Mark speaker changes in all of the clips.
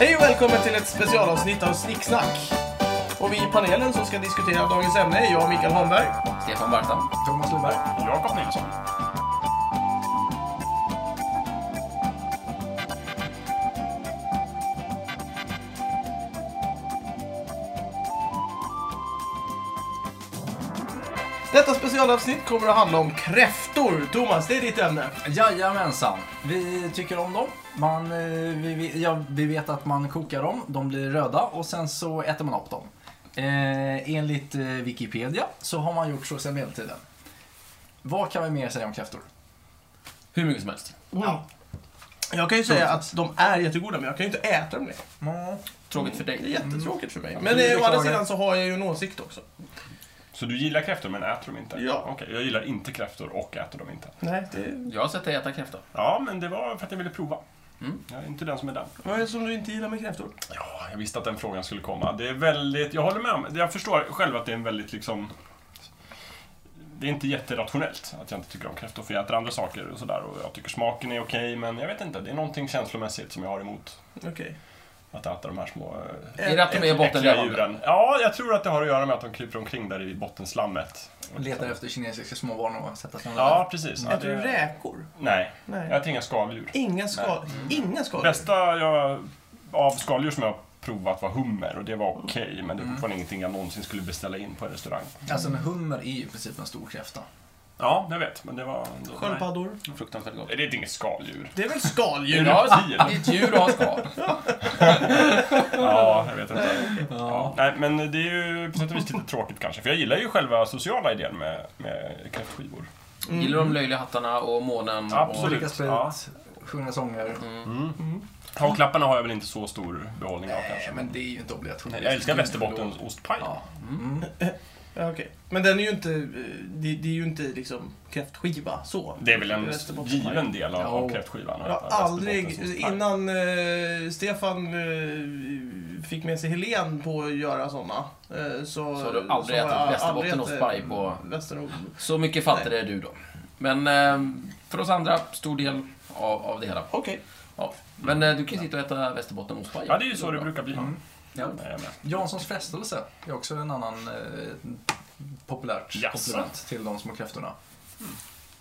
Speaker 1: Hej och välkommen till ett specialavsnitt av Snicksnack. Och vi i panelen som ska diskutera dagens ämne är jag, Mikael Holmberg.
Speaker 2: Stefan Barta.
Speaker 3: Thomas Lundberg.
Speaker 4: Jakob Nilsson.
Speaker 1: Detta specialavsnitt kommer att handla om kräftor. Thomas, det är ditt ämne.
Speaker 3: Jajamensan. Vi tycker om dem. Man, eh, vi, vi, ja, vi vet att man kokar dem, de blir röda och sen så äter man upp dem. Eh, enligt eh, Wikipedia så har man gjort så sedan medeltiden. Vad kan vi mer säga om kräftor?
Speaker 2: Hur mycket som helst.
Speaker 1: Jag kan ju säga att de är jättegoda, men jag kan ju inte äta dem längre.
Speaker 4: Mm.
Speaker 2: Tråkigt för
Speaker 1: Det är
Speaker 2: dig.
Speaker 1: jättetråkigt för mig.
Speaker 3: Mm,
Speaker 1: Men
Speaker 3: det
Speaker 1: eh, å andra
Speaker 3: beklagar.
Speaker 1: sidan så har jag ju en åsikt också.
Speaker 4: Så du gillar kräftor men äter dem inte?
Speaker 1: Ja.
Speaker 4: Okej, jag gillar inte kräftor och äter dem inte.
Speaker 1: Nej, det
Speaker 2: Jag har sett dig äta kräfta.
Speaker 4: Ja, men det var för att jag ville prova.
Speaker 2: Mm.
Speaker 4: Jag är inte den som är den.
Speaker 1: vad är det som du inte gillar med kräftor?
Speaker 4: Ja, jag visste att den frågan skulle komma. Det är väldigt, jag håller med om, jag förstår själv att det är en väldigt liksom det är inte jätterationellt att jag inte tycker om kräftor, för jag äter andra saker och sådär och jag tycker smaken är okej, men jag vet inte, det är någonting känslomässigt som jag har emot
Speaker 1: Okej.
Speaker 4: att äta de här små eh,
Speaker 2: Är det att de är
Speaker 4: äckliga
Speaker 2: bottenlevande?
Speaker 4: djuren. Ja, jag tror att det har att göra med att de kryper omkring där i bottenslammet.
Speaker 3: Letar efter kinesiska småbarn och sätter sig
Speaker 4: Ja, precis. Ja,
Speaker 1: Äter du
Speaker 4: det...
Speaker 1: räkor?
Speaker 4: Nej,
Speaker 1: Nej.
Speaker 4: jag äter inga skaldjur.
Speaker 1: Inga skal... Inga skal...
Speaker 4: Bästa jag, av skaldjur som jag har provat var hummer och det var okej, men det är fortfarande ingenting jag någonsin skulle beställa in på en restaurang.
Speaker 3: Alltså en hummer är ju i princip en stor kräfta.
Speaker 4: Ja, jag vet, men det var... ändå-
Speaker 1: Sköldpaddor?
Speaker 2: Fruktansvärt gott.
Speaker 4: Nej. Det är inget skaldjur.
Speaker 1: Det är väl
Speaker 4: Djur.
Speaker 1: skaldjur?
Speaker 2: Ja,
Speaker 4: Djur.
Speaker 2: det är ett djur och har skal.
Speaker 4: Ja, jag vet inte. Ja. Nej, men det är ju på sätt och vis lite tråkigt kanske, för jag gillar ju själva sociala idén med, med kräftskivor.
Speaker 2: Gillar de löjliga hattarna och månen.
Speaker 4: Absolut.
Speaker 3: Dricka sprit,
Speaker 4: Mm. Ja.
Speaker 3: sjunga sånger.
Speaker 4: Och klapparna har jag väl inte så stor behållning av
Speaker 3: Nej,
Speaker 4: kanske.
Speaker 3: men det är ju inte obligatoriskt.
Speaker 4: Jag älskar Västerbottens ostpaj.
Speaker 3: Ja.
Speaker 1: Ja, okej. Men den är ju inte, eh, det, det är ju inte liksom kräftskiva så.
Speaker 4: Det är väl en
Speaker 1: Västerbottensmaj.
Speaker 4: given del av, av
Speaker 3: Ja.
Speaker 4: kräftskivan.
Speaker 1: Jag har
Speaker 4: att äta
Speaker 1: aldrig,
Speaker 4: Västerbottens ostpaj.
Speaker 1: innan eh, Stefan eh, fick med sig Helen på att göra sådana. Eh, så,
Speaker 2: Så har du aldrig
Speaker 1: har
Speaker 2: ätit
Speaker 1: jag
Speaker 2: Västerbotten
Speaker 1: aldrig
Speaker 2: och
Speaker 1: ätit
Speaker 2: spaj på-
Speaker 1: Västerbo-
Speaker 2: Så mycket fattade är du då. Men eh, för oss andra, stor del av, av det hela.
Speaker 1: Okej.
Speaker 2: Ja. Men eh, du kan ju sitta och äta Västerbottenostpaj.
Speaker 4: Ja, det är ju så det brukar bli.
Speaker 3: Mm. Ja.
Speaker 4: Nej, jag med.
Speaker 3: Janssons frestelse är också en annan eh, populärt
Speaker 4: Jaså?
Speaker 3: komplement till de små kräftorna.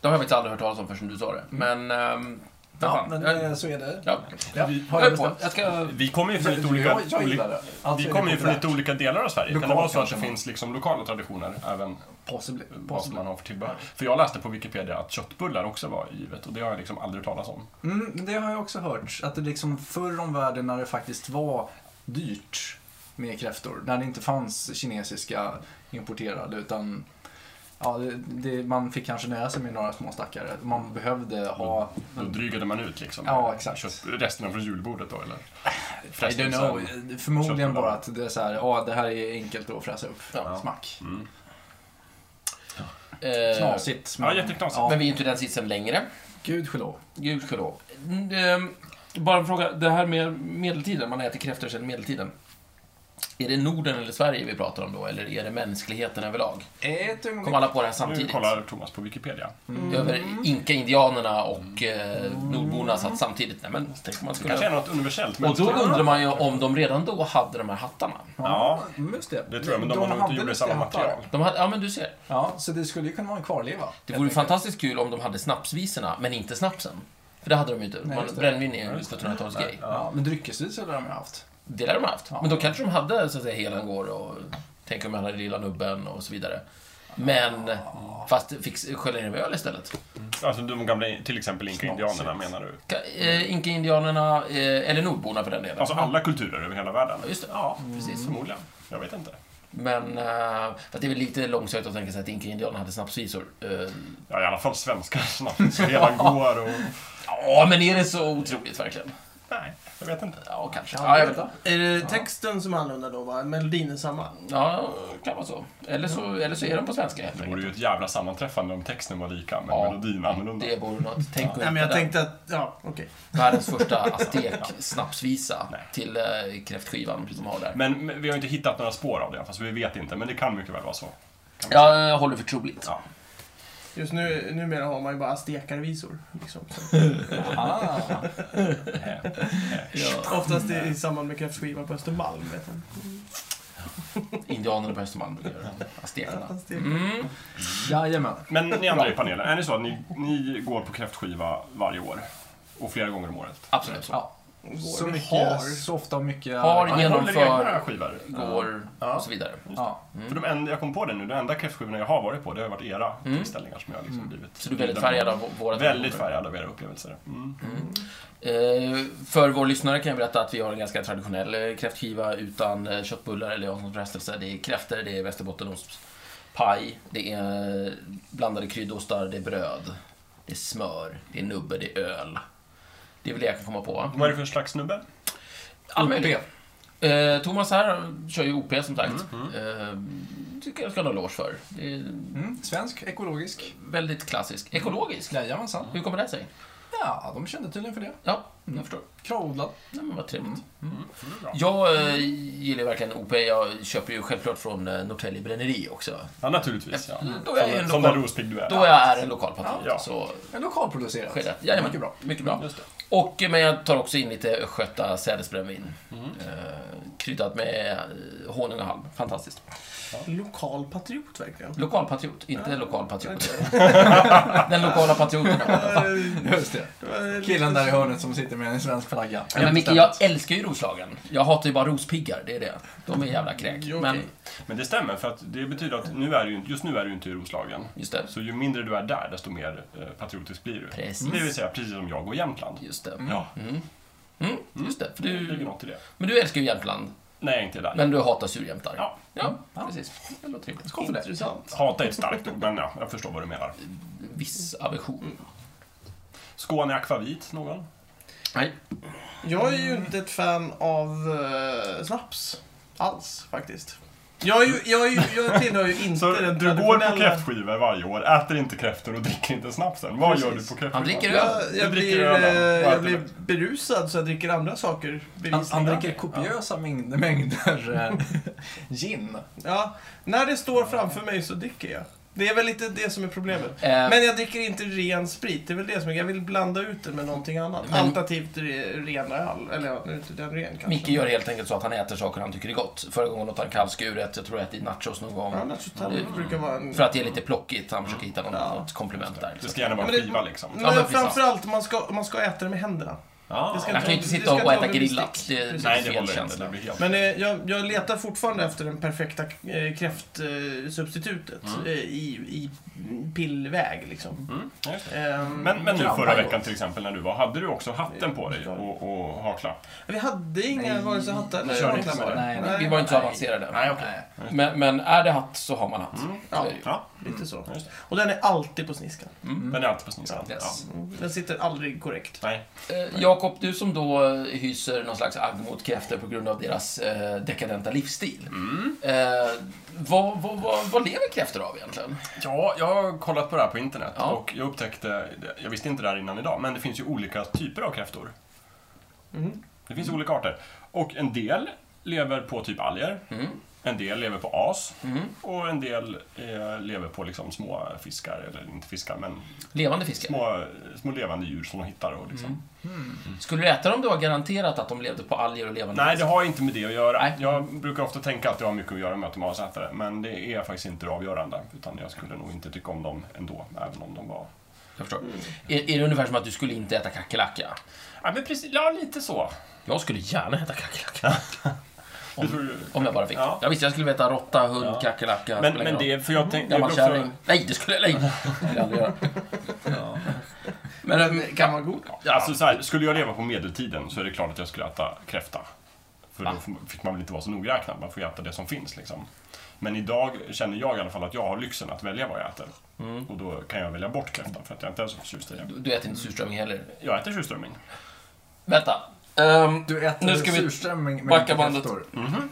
Speaker 2: Det har jag faktiskt aldrig hört talas om förrän du sa det.
Speaker 4: Mm.
Speaker 2: Men... ehm, vad
Speaker 3: Ja,
Speaker 2: fan.
Speaker 3: men
Speaker 2: Eh,
Speaker 3: eh, så är det.
Speaker 2: ja.
Speaker 3: Ja, har jag
Speaker 2: Hör på.
Speaker 3: bestämt.
Speaker 2: Jag ska...
Speaker 4: Vi kommer ju från lite
Speaker 3: Jag-
Speaker 4: olika,
Speaker 3: jag gillar
Speaker 4: olika-
Speaker 3: det. Alltså,
Speaker 4: vi
Speaker 3: det
Speaker 4: kommer ju
Speaker 3: är
Speaker 4: från lite
Speaker 3: populärt.
Speaker 4: olika delar av Sverige. kan det
Speaker 3: Lokalt
Speaker 4: vara så att det
Speaker 3: kanske man-
Speaker 4: finns liksom lokala traditioner även
Speaker 3: Possibly.
Speaker 4: vad som
Speaker 3: Possibly.
Speaker 4: man har för tillbehör? För jag läste på Wikipedia att köttbullar också var givet och det har jag liksom aldrig hört talas om.
Speaker 3: Mm, men det har jag också hört. Att det liksom förr om världen när det faktiskt var dyrt med kräftor. När det inte fanns kinesiska importerade utan ja, det, det, man fick kanske nöja sig med några små stackare. Man behövde ha...
Speaker 4: Då drygade man ut liksom
Speaker 3: Mm. Ja, exakt.
Speaker 4: Kött, resten från julbordet då eller?
Speaker 3: I don't know. Eh, Förmodligen
Speaker 4: Köttbullar.
Speaker 3: bara att det är så här, ja det här är enkelt att fräsa upp.
Speaker 2: Ja.
Speaker 3: Smack.
Speaker 4: Mm.
Speaker 2: Eh,
Speaker 3: Knasigt.
Speaker 4: Ja, jätteknasigt.
Speaker 2: Men vi är ju inte i den sitsen längre.
Speaker 3: Gud förlåt.
Speaker 2: Gudskelov. Bara en fråga, det här med medeltiden, man äter kräftor sedan medeltiden. Är det Norden eller Sverige vi pratar om då, eller är det mänskligheten överlag?
Speaker 3: Ett
Speaker 2: Kom
Speaker 3: ögonblick.
Speaker 2: alla på det här
Speaker 4: Nu
Speaker 2: samtidigt?
Speaker 4: kollar Thomas på Wikipedia.
Speaker 3: Mm.
Speaker 2: Över Inka-indianerna och eh, nordborna satt samtidigt. Nej, men, tänk om man
Speaker 4: Det kanske är
Speaker 2: skulle...
Speaker 4: något universellt. men-
Speaker 2: Och då undrar man ju om de redan då hade de här hattarna.
Speaker 4: Ja,
Speaker 3: Mm, Just det.
Speaker 4: det tror jag. Men de, har nog
Speaker 3: hade
Speaker 4: inte gjort det i
Speaker 3: lite
Speaker 4: samma
Speaker 3: hattar.
Speaker 4: material.
Speaker 2: De hade, ja, men du ser.
Speaker 3: Ja, så det skulle ju kunna vara en kvarleva.
Speaker 2: Det
Speaker 3: helt
Speaker 2: vore
Speaker 3: enkelt.
Speaker 2: fantastiskt kul om de hade snapsvisorna, men inte snapsen. För det hade de ju inte.
Speaker 3: Nej,
Speaker 2: Man-
Speaker 3: just det.
Speaker 2: Brännvin är ju
Speaker 4: Ja, just det.
Speaker 2: 1700-talsgrej.
Speaker 3: Ja, men dryckesvis hade de ju haft.
Speaker 2: Det lär de ha haft.
Speaker 3: Ja.
Speaker 2: Men då kanske de hade så att säga Helengård och Tänk om jag hade lilla nubben och så vidare. Men, fast fick skölja ner med öl istället.
Speaker 4: Alltså de gamla, till exempel inka-indianerna
Speaker 3: Knasigt.
Speaker 4: menar du?
Speaker 2: Ka- eh, Inka-indianerna, eh, eller nordborna för den delen.
Speaker 4: Alltså alla kulturer över hela världen?
Speaker 2: Ja, Just det, ja, precis.
Speaker 4: Förmodligen. Jag vet inte.
Speaker 2: Men, eh, för det är väl lite långsökt att tänka sig att Inka-indianerna hade snapsvisor. Eh,
Speaker 4: Ja, i alla fall svenskar snabbt. Så redan går och...
Speaker 2: Ja, men är det så otroligt verkligen?
Speaker 4: Nej, jag vet inte.
Speaker 2: Ja, kanske.
Speaker 3: Ja,
Speaker 2: Ja, jag
Speaker 3: det
Speaker 2: vet.
Speaker 3: då.
Speaker 1: Är det texten som är annorlunda då va? Melodin är samma?
Speaker 2: ja kan vara så. Eller så, eller så är de på svenska helt
Speaker 4: Det vore
Speaker 2: enkelt.
Speaker 4: ju ett jävla sammanträffande om texten var lika, men
Speaker 2: Ja.
Speaker 4: melodin annorlunda.
Speaker 2: Det vore något. Tänk att
Speaker 1: Nej men
Speaker 2: hitta
Speaker 1: jag
Speaker 2: den.
Speaker 1: tänkte att, ja okej.
Speaker 2: Världens första aztek-snapsvisa
Speaker 4: Nej.
Speaker 2: till eh, kräftskivan som de har där.
Speaker 4: Men, men vi har ju inte hittat några spår av det, fast vi vet inte. Men det kan mycket väl vara så.
Speaker 2: Jag håller för troligt.
Speaker 4: Ja.
Speaker 1: Just nu, numera har man ju bara stekarvisor. Liksom. Så.
Speaker 3: Ah,
Speaker 4: Eh,
Speaker 2: Ja.
Speaker 1: Oftast i,
Speaker 2: Mm.
Speaker 1: i samband med kräftskiva på Östermalm. Vet man.
Speaker 2: Indianerna på Östermalm brukar göra det. Aztekerna.
Speaker 1: Fast det-
Speaker 2: Mm.
Speaker 3: jajamän.
Speaker 4: Men ni andra i panelen, är det så att ni, ni går på kräftskiva varje år? Och flera gånger om året?
Speaker 2: Absolut så.
Speaker 3: Ja,
Speaker 1: går.
Speaker 3: så,
Speaker 1: Vi
Speaker 3: mycket,
Speaker 1: har.
Speaker 3: så ofta och mycket...
Speaker 2: Har
Speaker 4: Ja, ni håller
Speaker 2: Genomför-
Speaker 4: egna skivor?
Speaker 2: Går
Speaker 4: Ja.
Speaker 2: och så vidare.
Speaker 3: Ja.
Speaker 4: För de enda, jag kom på det nu, de enda kräftskivorna jag har varit på, det har varit era tillställningar som jag liksom blivit...
Speaker 2: Mm. Så du är väldigt färgad av våra
Speaker 4: Väldigt
Speaker 2: traditioner.
Speaker 4: färgad av era upplevelser. Mm.
Speaker 2: Eh, för vår lyssnare kan jag berätta att vi har en ganska traditionell eh, kräftskiva utan eh, köttbullar eller Janssons frestelse. Det är kräftor, det är västerbottenost, paj, det är eh, blandade kryddostar, det är bröd, det är smör, det är nubbe, det är öl. Det är väl det jag kan komma på. va?
Speaker 4: Vad är det för slags snubbe?
Speaker 2: All möjlig. Eh, Thomas här kör ju OP som sagt. Eh, tycker jag ska ha en eloge för. Det är
Speaker 3: Mm, svensk, ekologisk.
Speaker 2: väldigt klassisk. Ekologisk.
Speaker 3: Jajamensan.
Speaker 2: Hur kommer det sig?
Speaker 3: Ja, de kände tydligen för det.
Speaker 2: Ja, jag förstår.
Speaker 3: Kravodlad.
Speaker 2: Nej, men vad trevligt.
Speaker 4: Mm.
Speaker 2: Mm.
Speaker 4: Det är bra.
Speaker 2: Jag eh, gillar verkligen OP. Jag köper ju självklart från eh, Norrtälje Bränneri också.
Speaker 4: Ja, naturligtvis. Ja.
Speaker 2: Mm, då är jag ju
Speaker 4: som
Speaker 2: en
Speaker 4: som
Speaker 2: lokal-
Speaker 4: den rospigg du är.
Speaker 2: Då jag är en lokalpatriot
Speaker 4: Ja. Mm.
Speaker 2: så
Speaker 3: En lokalproducerad.
Speaker 2: sker det. Jajamän.
Speaker 3: Mycket bra.
Speaker 2: Mycket bra.
Speaker 4: Just det.
Speaker 2: Och, eh, men jag tar också in lite Östgöta sädesbrännvin.
Speaker 4: Mm.
Speaker 2: Eh, kryddat med eh, honung och halm. Fantastiskt.
Speaker 1: Lokal patriot verkligen.
Speaker 2: Lokalpatriot, inte lokalpatriot. Den lokala patrioten.
Speaker 3: Just det. Killen där i hörnet som sitter med en svensk flagga.
Speaker 2: Ja, men Micke, jag älskar ju Roslagen. Jag hatar ju bara rospiggar, det är det. De är jävla kräk.
Speaker 1: Jo, okej.
Speaker 2: Men,
Speaker 4: Men det stämmer, för att det betyder att nu är du, ju inte- just nu är du inte i Roslagen.
Speaker 2: just det.
Speaker 4: Så ju mindre du är där, desto mer eh, patriotisk blir du.
Speaker 2: Precis.
Speaker 4: Det vill säga precis som jag och Jämtland.
Speaker 2: Just det.
Speaker 4: Ja,
Speaker 2: Mm, just det. För
Speaker 4: det ligger
Speaker 2: du,
Speaker 4: något i det.
Speaker 2: men du älskar ju Jämtland.
Speaker 4: Nej, jag är inte där.
Speaker 2: Men du hatar surjämtar?
Speaker 4: Ja.
Speaker 2: ja, precis. Det låter trevligt.
Speaker 3: Skål för det.
Speaker 1: Intressant.
Speaker 4: Hata är ett starkt ord, men ja, jag förstår vad du menar.
Speaker 2: Viss aversion.
Speaker 4: Skåne akvavit, någon?
Speaker 2: Nej.
Speaker 1: Jag är ju inte ett fan av eh, snaps. Alls, faktiskt. Jag, är ju, jag, är ju, jag tillhör ju inte
Speaker 4: Så
Speaker 1: den
Speaker 4: du går på
Speaker 1: traditionella...
Speaker 4: kräftskivor varje år, äter inte kräftor och dricker inte snapsen. Vad gör du
Speaker 1: Precis.
Speaker 4: på kräftskivor?
Speaker 2: Han dricker öl.
Speaker 1: Jag,
Speaker 4: Du
Speaker 1: jag,
Speaker 4: dricker
Speaker 1: blir,
Speaker 4: ölen.
Speaker 1: eh, jag
Speaker 4: Vad äter
Speaker 1: blir
Speaker 4: du?
Speaker 1: berusad så jag dricker andra saker.
Speaker 3: Han, han
Speaker 1: bevisligen.
Speaker 3: dricker kopiösa mängder, mängder eh, gin.
Speaker 1: Ja, när det står framför mig så dricker jag. Det är väl lite det som är problemet.
Speaker 2: Eh,
Speaker 1: Men jag dricker inte ren sprit, det är väl det som är Jag vill blanda ut det med någonting annat.
Speaker 2: Men-
Speaker 1: Alternativt re- ren öl. Eller ja, nu är inte den ren kanske.
Speaker 2: Micke gör helt enkelt så att han äter saker han tycker är gott. Förra gången åt han kalvskuret, jag tror jag ätit nachos någon gång.
Speaker 1: Ja, nachotall
Speaker 2: Mm.
Speaker 1: brukar vara en...
Speaker 2: För att det är lite plockigt, han försöker hitta något,
Speaker 1: Ja.
Speaker 2: något komplement där.
Speaker 4: Det
Speaker 2: Liksom.
Speaker 4: ska gärna vara
Speaker 1: Men det-
Speaker 4: skiva liksom.
Speaker 1: Men
Speaker 2: Ja, men precis.
Speaker 1: framförallt, man ska, man ska äta det med händerna.
Speaker 4: Ah.
Speaker 1: det ska
Speaker 2: Han kan ju inte
Speaker 1: Det
Speaker 2: sitta
Speaker 1: ska
Speaker 2: och
Speaker 1: inte
Speaker 2: äta
Speaker 1: vara med
Speaker 2: grillat,
Speaker 1: bestick.
Speaker 2: det är
Speaker 4: Nej, det
Speaker 2: fel
Speaker 4: håller inte. Det
Speaker 2: känsla.
Speaker 4: blir helt...
Speaker 1: Men eh, jag, jag letar fortfarande efter den perfekta eh, kräftsubstitutet eh, i, i pillväg liksom.
Speaker 4: Mm, ja, just det.
Speaker 1: Ehm,
Speaker 4: Men, men nu
Speaker 3: Krampa
Speaker 4: förra
Speaker 3: gott.
Speaker 4: veckan till exempel när du var, hade du också hatten på dig och, och haklapp?
Speaker 1: Vi hade inga
Speaker 3: Nej.
Speaker 1: vare sig hattar eller
Speaker 4: Körde inte
Speaker 1: handklämmar.
Speaker 4: så.
Speaker 3: Nej,
Speaker 1: Nej. Mm.
Speaker 2: Vi var inte så
Speaker 3: Nej.
Speaker 2: avancerade.
Speaker 4: Nej, okej.
Speaker 2: Men, men är det hatt så har man hatt. Så
Speaker 1: Ja,
Speaker 2: är det ju.
Speaker 4: Ja,
Speaker 1: lite så.
Speaker 4: just det.
Speaker 1: Och den är alltid på sniskan.
Speaker 4: Den är alltid på sniskan.
Speaker 2: Yes.
Speaker 4: Ja.
Speaker 1: Den sitter aldrig korrekt.
Speaker 4: Nej.
Speaker 2: Eh, Jakob, du som då eh, hyser någon slags agg mot kräftor på grund av deras eh, dekadenta livsstil.
Speaker 4: Mm.
Speaker 2: Eh, vad, vad, vad, vad lever kräftor av egentligen?
Speaker 4: Ja, jag har kollat på det här på internet
Speaker 2: Ja.
Speaker 4: och jag upptäckte, jag visste inte det här innan idag, men det finns ju olika typer av kräftor.
Speaker 1: Mm.
Speaker 4: Det finns olika arter. Och en del lever på typ alger,
Speaker 2: Mm.
Speaker 4: en del lever på as
Speaker 2: Mm.
Speaker 4: och en del eh, lever på liksom små fiskar, eller inte fiskar, men
Speaker 2: Levande fiskar.
Speaker 4: små, små levande djur som de hittar. Och liksom.
Speaker 2: Mm. Skulle du äta dem då garanterat att de levde på alger och levande
Speaker 4: Nej, det har inte med det att göra.
Speaker 2: Nej.
Speaker 4: Jag brukar ofta tänka att det har mycket att göra med att de är asätare, men det är faktiskt inte det avgörande. Utan jag skulle nog inte tycka om dem ändå, även om de var...
Speaker 2: Jag förstår. Är, är det ungefär som att du skulle inte äta kackerlacka?
Speaker 4: Ja, men precis, ja, lite så.
Speaker 2: Jag skulle gärna äta kackerlacka.
Speaker 4: Det tror du-
Speaker 2: Om jag bara fick.
Speaker 4: Ja.
Speaker 2: Ja. Jag visste jag skulle äta råtta, hund,
Speaker 4: Ja.
Speaker 2: kackerlacka.
Speaker 4: Men,
Speaker 2: spelar
Speaker 4: men
Speaker 2: ingen
Speaker 4: det
Speaker 2: roll.
Speaker 4: är, för jag tänkte...
Speaker 2: Gammal
Speaker 4: jag blev
Speaker 2: kärring. Nej, det skulle jag nej. Det skulle jag aldrig göra. Men, äm,
Speaker 4: eh,
Speaker 1: Kan vara god.
Speaker 4: också- Alltså, så här, skulle jag leva på medeltiden så är det klart att jag skulle äta kräfta. För då får- fick man väl inte vara så nogräknad, man får ju äta det som finns liksom. Men idag känner jag i alla fall att jag har lyxen att välja vad jag äter. Och då kan jag välja bort kräftan för att jag inte är så förtjust i det.
Speaker 2: du, du äter inte surströmming heller.
Speaker 4: Jag äter surströmming.
Speaker 2: Vänta. Ehm,
Speaker 3: Du äter
Speaker 2: Nu ska vi
Speaker 3: surströmming med
Speaker 2: backa
Speaker 3: lite
Speaker 2: bandet. Mm.
Speaker 3: kräftor.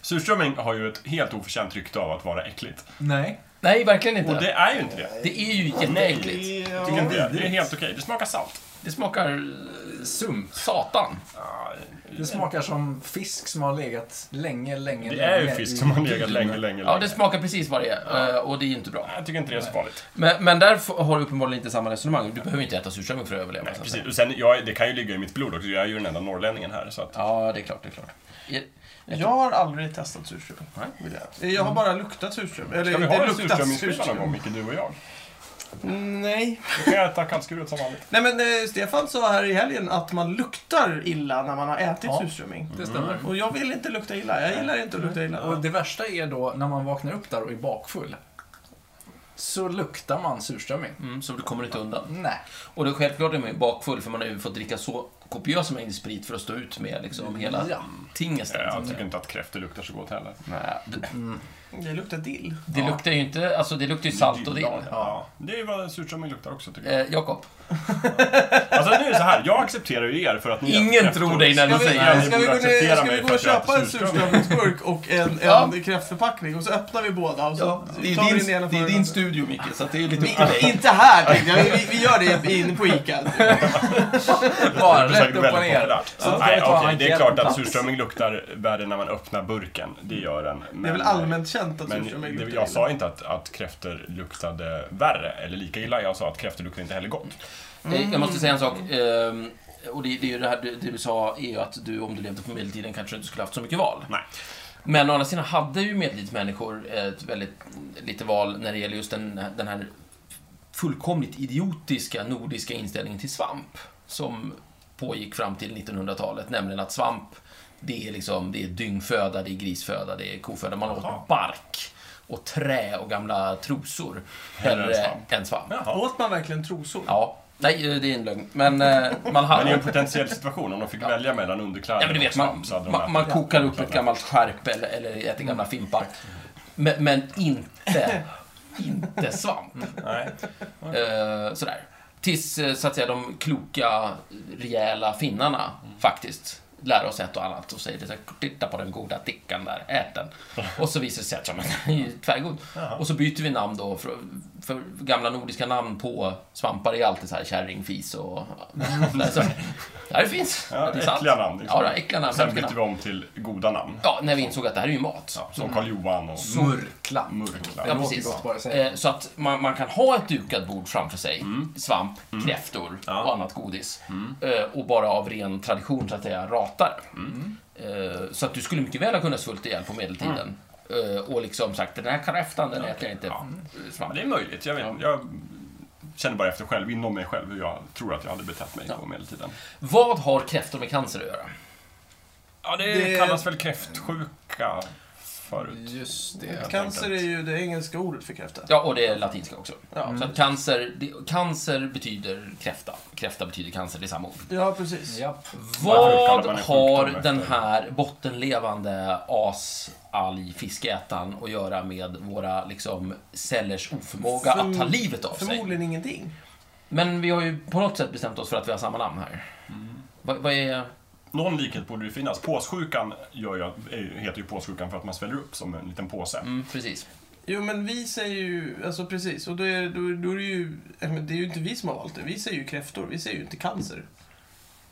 Speaker 4: Surströmming har ju ett helt oförtjänt rykte av att vara äckligt.
Speaker 3: Nej.
Speaker 2: nej, verkligen inte.
Speaker 4: Och det
Speaker 2: Det...
Speaker 4: är ju inte det.
Speaker 2: är ju jätteäckligt.
Speaker 4: Jag tycker inte det. Det är helt okej. Det smakar salt.
Speaker 2: Det smakar
Speaker 3: Sump.
Speaker 2: satan.
Speaker 3: Det smakar som fisk som har legat länge, länge,
Speaker 4: Det
Speaker 3: länge.
Speaker 4: är ju fisk som har legat länge, länge,
Speaker 2: Ja, det
Speaker 4: länge.
Speaker 2: smakar precis vad det är eh, och det är ju inte bra.
Speaker 4: Jag tycker inte det är så farligt.
Speaker 2: Men, men där f- har du uppenbarligen inte samma resonemang. Du behöver inte äta surströmming för att överleva.
Speaker 4: Nej,
Speaker 2: så att
Speaker 4: precis.
Speaker 2: säga.
Speaker 4: Och sen, jag, det kan ju ligga i mitt blod också. Jag är ju den enda norrlänningen här. Så att,
Speaker 2: Ja, det är klart, det är klart. I-
Speaker 1: Jag har aldrig testat surströmming.
Speaker 2: Nej.
Speaker 1: vill jag. Jag har bara luktat surströmming. Eller
Speaker 4: Mm. Ska vi
Speaker 1: det
Speaker 4: ha en
Speaker 1: luktas
Speaker 4: surströmmingsskiva någon
Speaker 1: surströmming.
Speaker 4: gång, Micke, du och jag?
Speaker 1: Mm, Nej.
Speaker 4: Då kan jag äta kallskuret som vanligt.
Speaker 1: Nej men eh, Stefan sa här i helgen att man luktar illa när man har ätit
Speaker 3: Ja.
Speaker 1: surströmming.
Speaker 3: Det stämmer.
Speaker 4: Mm.
Speaker 1: Och jag vill inte lukta illa. Jag gillar inte att lukta
Speaker 3: Och
Speaker 1: illa.
Speaker 3: det värsta är då när man vaknar upp där och är bakfull. Så luktar man surströmming.
Speaker 2: Mm, så du kommer inte undan.
Speaker 3: Nej.
Speaker 2: Och det är självklart är man ju bakfull för man har ju fått dricka så kopiösa mängder sprit för att stå ut med liksom hela
Speaker 3: Ja.
Speaker 2: tingesten. så
Speaker 4: Jag
Speaker 2: att säga.
Speaker 4: tycker inte att kräftor luktar så gott heller.
Speaker 2: Nej, det-
Speaker 1: Det luktar dill.
Speaker 2: Det luktar ju inte, alltså det luktar ju salt och dill.
Speaker 4: Ja. Ja. Det är ju vad surströmming luktar också, tycker jag.
Speaker 2: Eh, Jakob,
Speaker 4: Alltså, nu är det så här. Jag accepterar ju er för att ni äter
Speaker 2: ingen
Speaker 4: kräftor.
Speaker 2: tror dig när du
Speaker 1: Ska vi,
Speaker 2: säger
Speaker 4: Nej.
Speaker 2: det.
Speaker 1: ska vi, gå,
Speaker 4: borde
Speaker 1: ner,
Speaker 4: acceptera
Speaker 1: ska vi
Speaker 4: mig
Speaker 1: gå
Speaker 4: för
Speaker 1: och
Speaker 4: att jag
Speaker 1: köpa en
Speaker 4: äter surströmming.
Speaker 1: surströmmingsburk och en,
Speaker 2: Ja.
Speaker 1: en kräftförpackning och så öppnar vi båda och så
Speaker 2: Ja, det
Speaker 1: tar vi
Speaker 2: är
Speaker 1: den ena
Speaker 2: din, det
Speaker 1: för
Speaker 2: är
Speaker 1: den
Speaker 2: din
Speaker 1: andra.
Speaker 2: studio Micke, så att det är lite upp till
Speaker 1: I-
Speaker 2: dig.
Speaker 1: Inte här tänkte jag. Vi, vi gör det inne på Ica.
Speaker 3: Bara
Speaker 4: Det blir
Speaker 3: rätt
Speaker 4: säkert
Speaker 3: upp och
Speaker 4: väldigt
Speaker 3: ner.
Speaker 4: populärt.
Speaker 3: Så ska vi
Speaker 4: Nej,
Speaker 3: ta
Speaker 4: okej, det är
Speaker 3: enkäten
Speaker 4: klart att
Speaker 3: plats.
Speaker 4: surströmming luktar värre när man öppnar burken. Det gör den. Men, eh,
Speaker 1: Det är väl allmänt känt att
Speaker 4: Men
Speaker 1: surströmming
Speaker 4: det-
Speaker 1: luktar
Speaker 4: jag
Speaker 1: illa.
Speaker 4: sa inte att, att kräftor luktade värre eller lika illa. Jag sa att kräftor luktar inte heller gott.
Speaker 2: Eh, Jag måste säga en sak. ehm, Och det, det är ju det här du, det du sa, är ju att du om du levde på medeltiden kanske inte skulle haft så mycket val.
Speaker 4: Nej.
Speaker 2: Men å andra sidan hade ju medeltidsmänniskor ett väldigt lite val när det gäller just den, den här fullkomligt idiotiska nordiska inställningen till svamp som pågick fram till 1900-talet, nämligen att svamp det är liksom, det är dyngföda, det är grisföda, det är koföda. Man
Speaker 4: Jaha.
Speaker 2: åt bark och trä och gamla trosor
Speaker 4: Hellre än
Speaker 2: hellre
Speaker 4: svamp.
Speaker 2: än svamp.
Speaker 4: Jaha.
Speaker 1: Åt man verkligen trosor?
Speaker 2: Ja, nej eh, det är en lögn. Men eh, man hade...
Speaker 4: Men i en potentiell situation, om de fick välja mellan underkläder
Speaker 2: Ja, men du vet,
Speaker 4: och
Speaker 2: man,
Speaker 4: svamp så hade de
Speaker 2: man,
Speaker 4: ätit
Speaker 2: man kokar upp ett
Speaker 4: underkläder.
Speaker 2: gammalt skärp eller, eller äter gamla fimpar. Men, men inte, inte svamp.
Speaker 4: Nej.
Speaker 2: Eh, sådär. Tills, eh, så att säga, de kloka, rejäla finnarna faktiskt lär oss ett och annat och säger det så här, titta på den goda tickan där, ät den. Och så visar det sig att ja, men den är ju tvärgod. Och så byter vi namn då, för, för gamla nordiska namn på svampar är alltid så här kärring, fis och... så, ja, det finns.
Speaker 4: Ja,
Speaker 2: det är sant.
Speaker 4: äckliga namn, liksom.
Speaker 2: Ja, det är äckliga namn.
Speaker 4: Sen
Speaker 2: hemska
Speaker 4: bytte
Speaker 2: namn.
Speaker 4: vi om till goda namn.
Speaker 2: Ja, Mm. när vi insåg att det här är ju mat. Ja,
Speaker 4: Som Karl Johan och
Speaker 3: Murkla.
Speaker 4: Murkla.
Speaker 3: Det låter
Speaker 2: precis.
Speaker 3: gott bara att säga.
Speaker 2: Eh, Så att man, man kan ha ett dukat bord framför sig, svamp, kräftor och annat godis. Eh, Och bara av ren tradition, så att säga, ratar. Eh, Så att du skulle mycket väl ha kunnat svulta ihjäl på medeltiden. Eh, Och liksom sagt, den här kräftan, den äter jag inte. eh,
Speaker 4: Ja,
Speaker 2: Svamp.
Speaker 4: det är möjligt. Jag, vet, jag känner bara efter själv, inom mig själv, hur jag tror att jag hade betett mig på medeltiden.
Speaker 2: Vad har kräftor med cancer att göra?
Speaker 4: Ja, det,
Speaker 1: Det-
Speaker 4: kallas väl kräftsjuka förut.
Speaker 3: Just det.
Speaker 1: Cancer är ju det engelska ordet för kräfta.
Speaker 2: Ja, och det är latinska också.
Speaker 1: Ja.
Speaker 2: Så att cancer, det, cancer betyder kräfta. Kräfta betyder cancer, det är samma ord.
Speaker 1: Ja, precis.
Speaker 3: Japp.
Speaker 4: Varför kallar
Speaker 2: Vad
Speaker 4: man en
Speaker 2: har
Speaker 4: sjukdom
Speaker 2: den
Speaker 4: efter-
Speaker 2: här bottenlevande as-alg-fiskätaren att göra med våra liksom, cellers oförmåga att ta
Speaker 1: Förm-
Speaker 2: livet av sig?
Speaker 1: Förmodligen ingenting.
Speaker 2: Men vi har ju på något sätt bestämt oss för att vi har samma namn här.
Speaker 1: Mm.
Speaker 2: Vad, vad är...
Speaker 4: Någon likhet borde det finnas. Påssjukan gör ju, att- är ju- heter ju påssjukan för att man sväller upp som en liten påse.
Speaker 2: Mm, precis.
Speaker 1: Jo, men vi säger ju... Alltså precis. Och då är, då, då är det ju... eh, men Det är ju inte vi som har valt det. Vi säger ju kräftor. Vi säger ju inte cancer.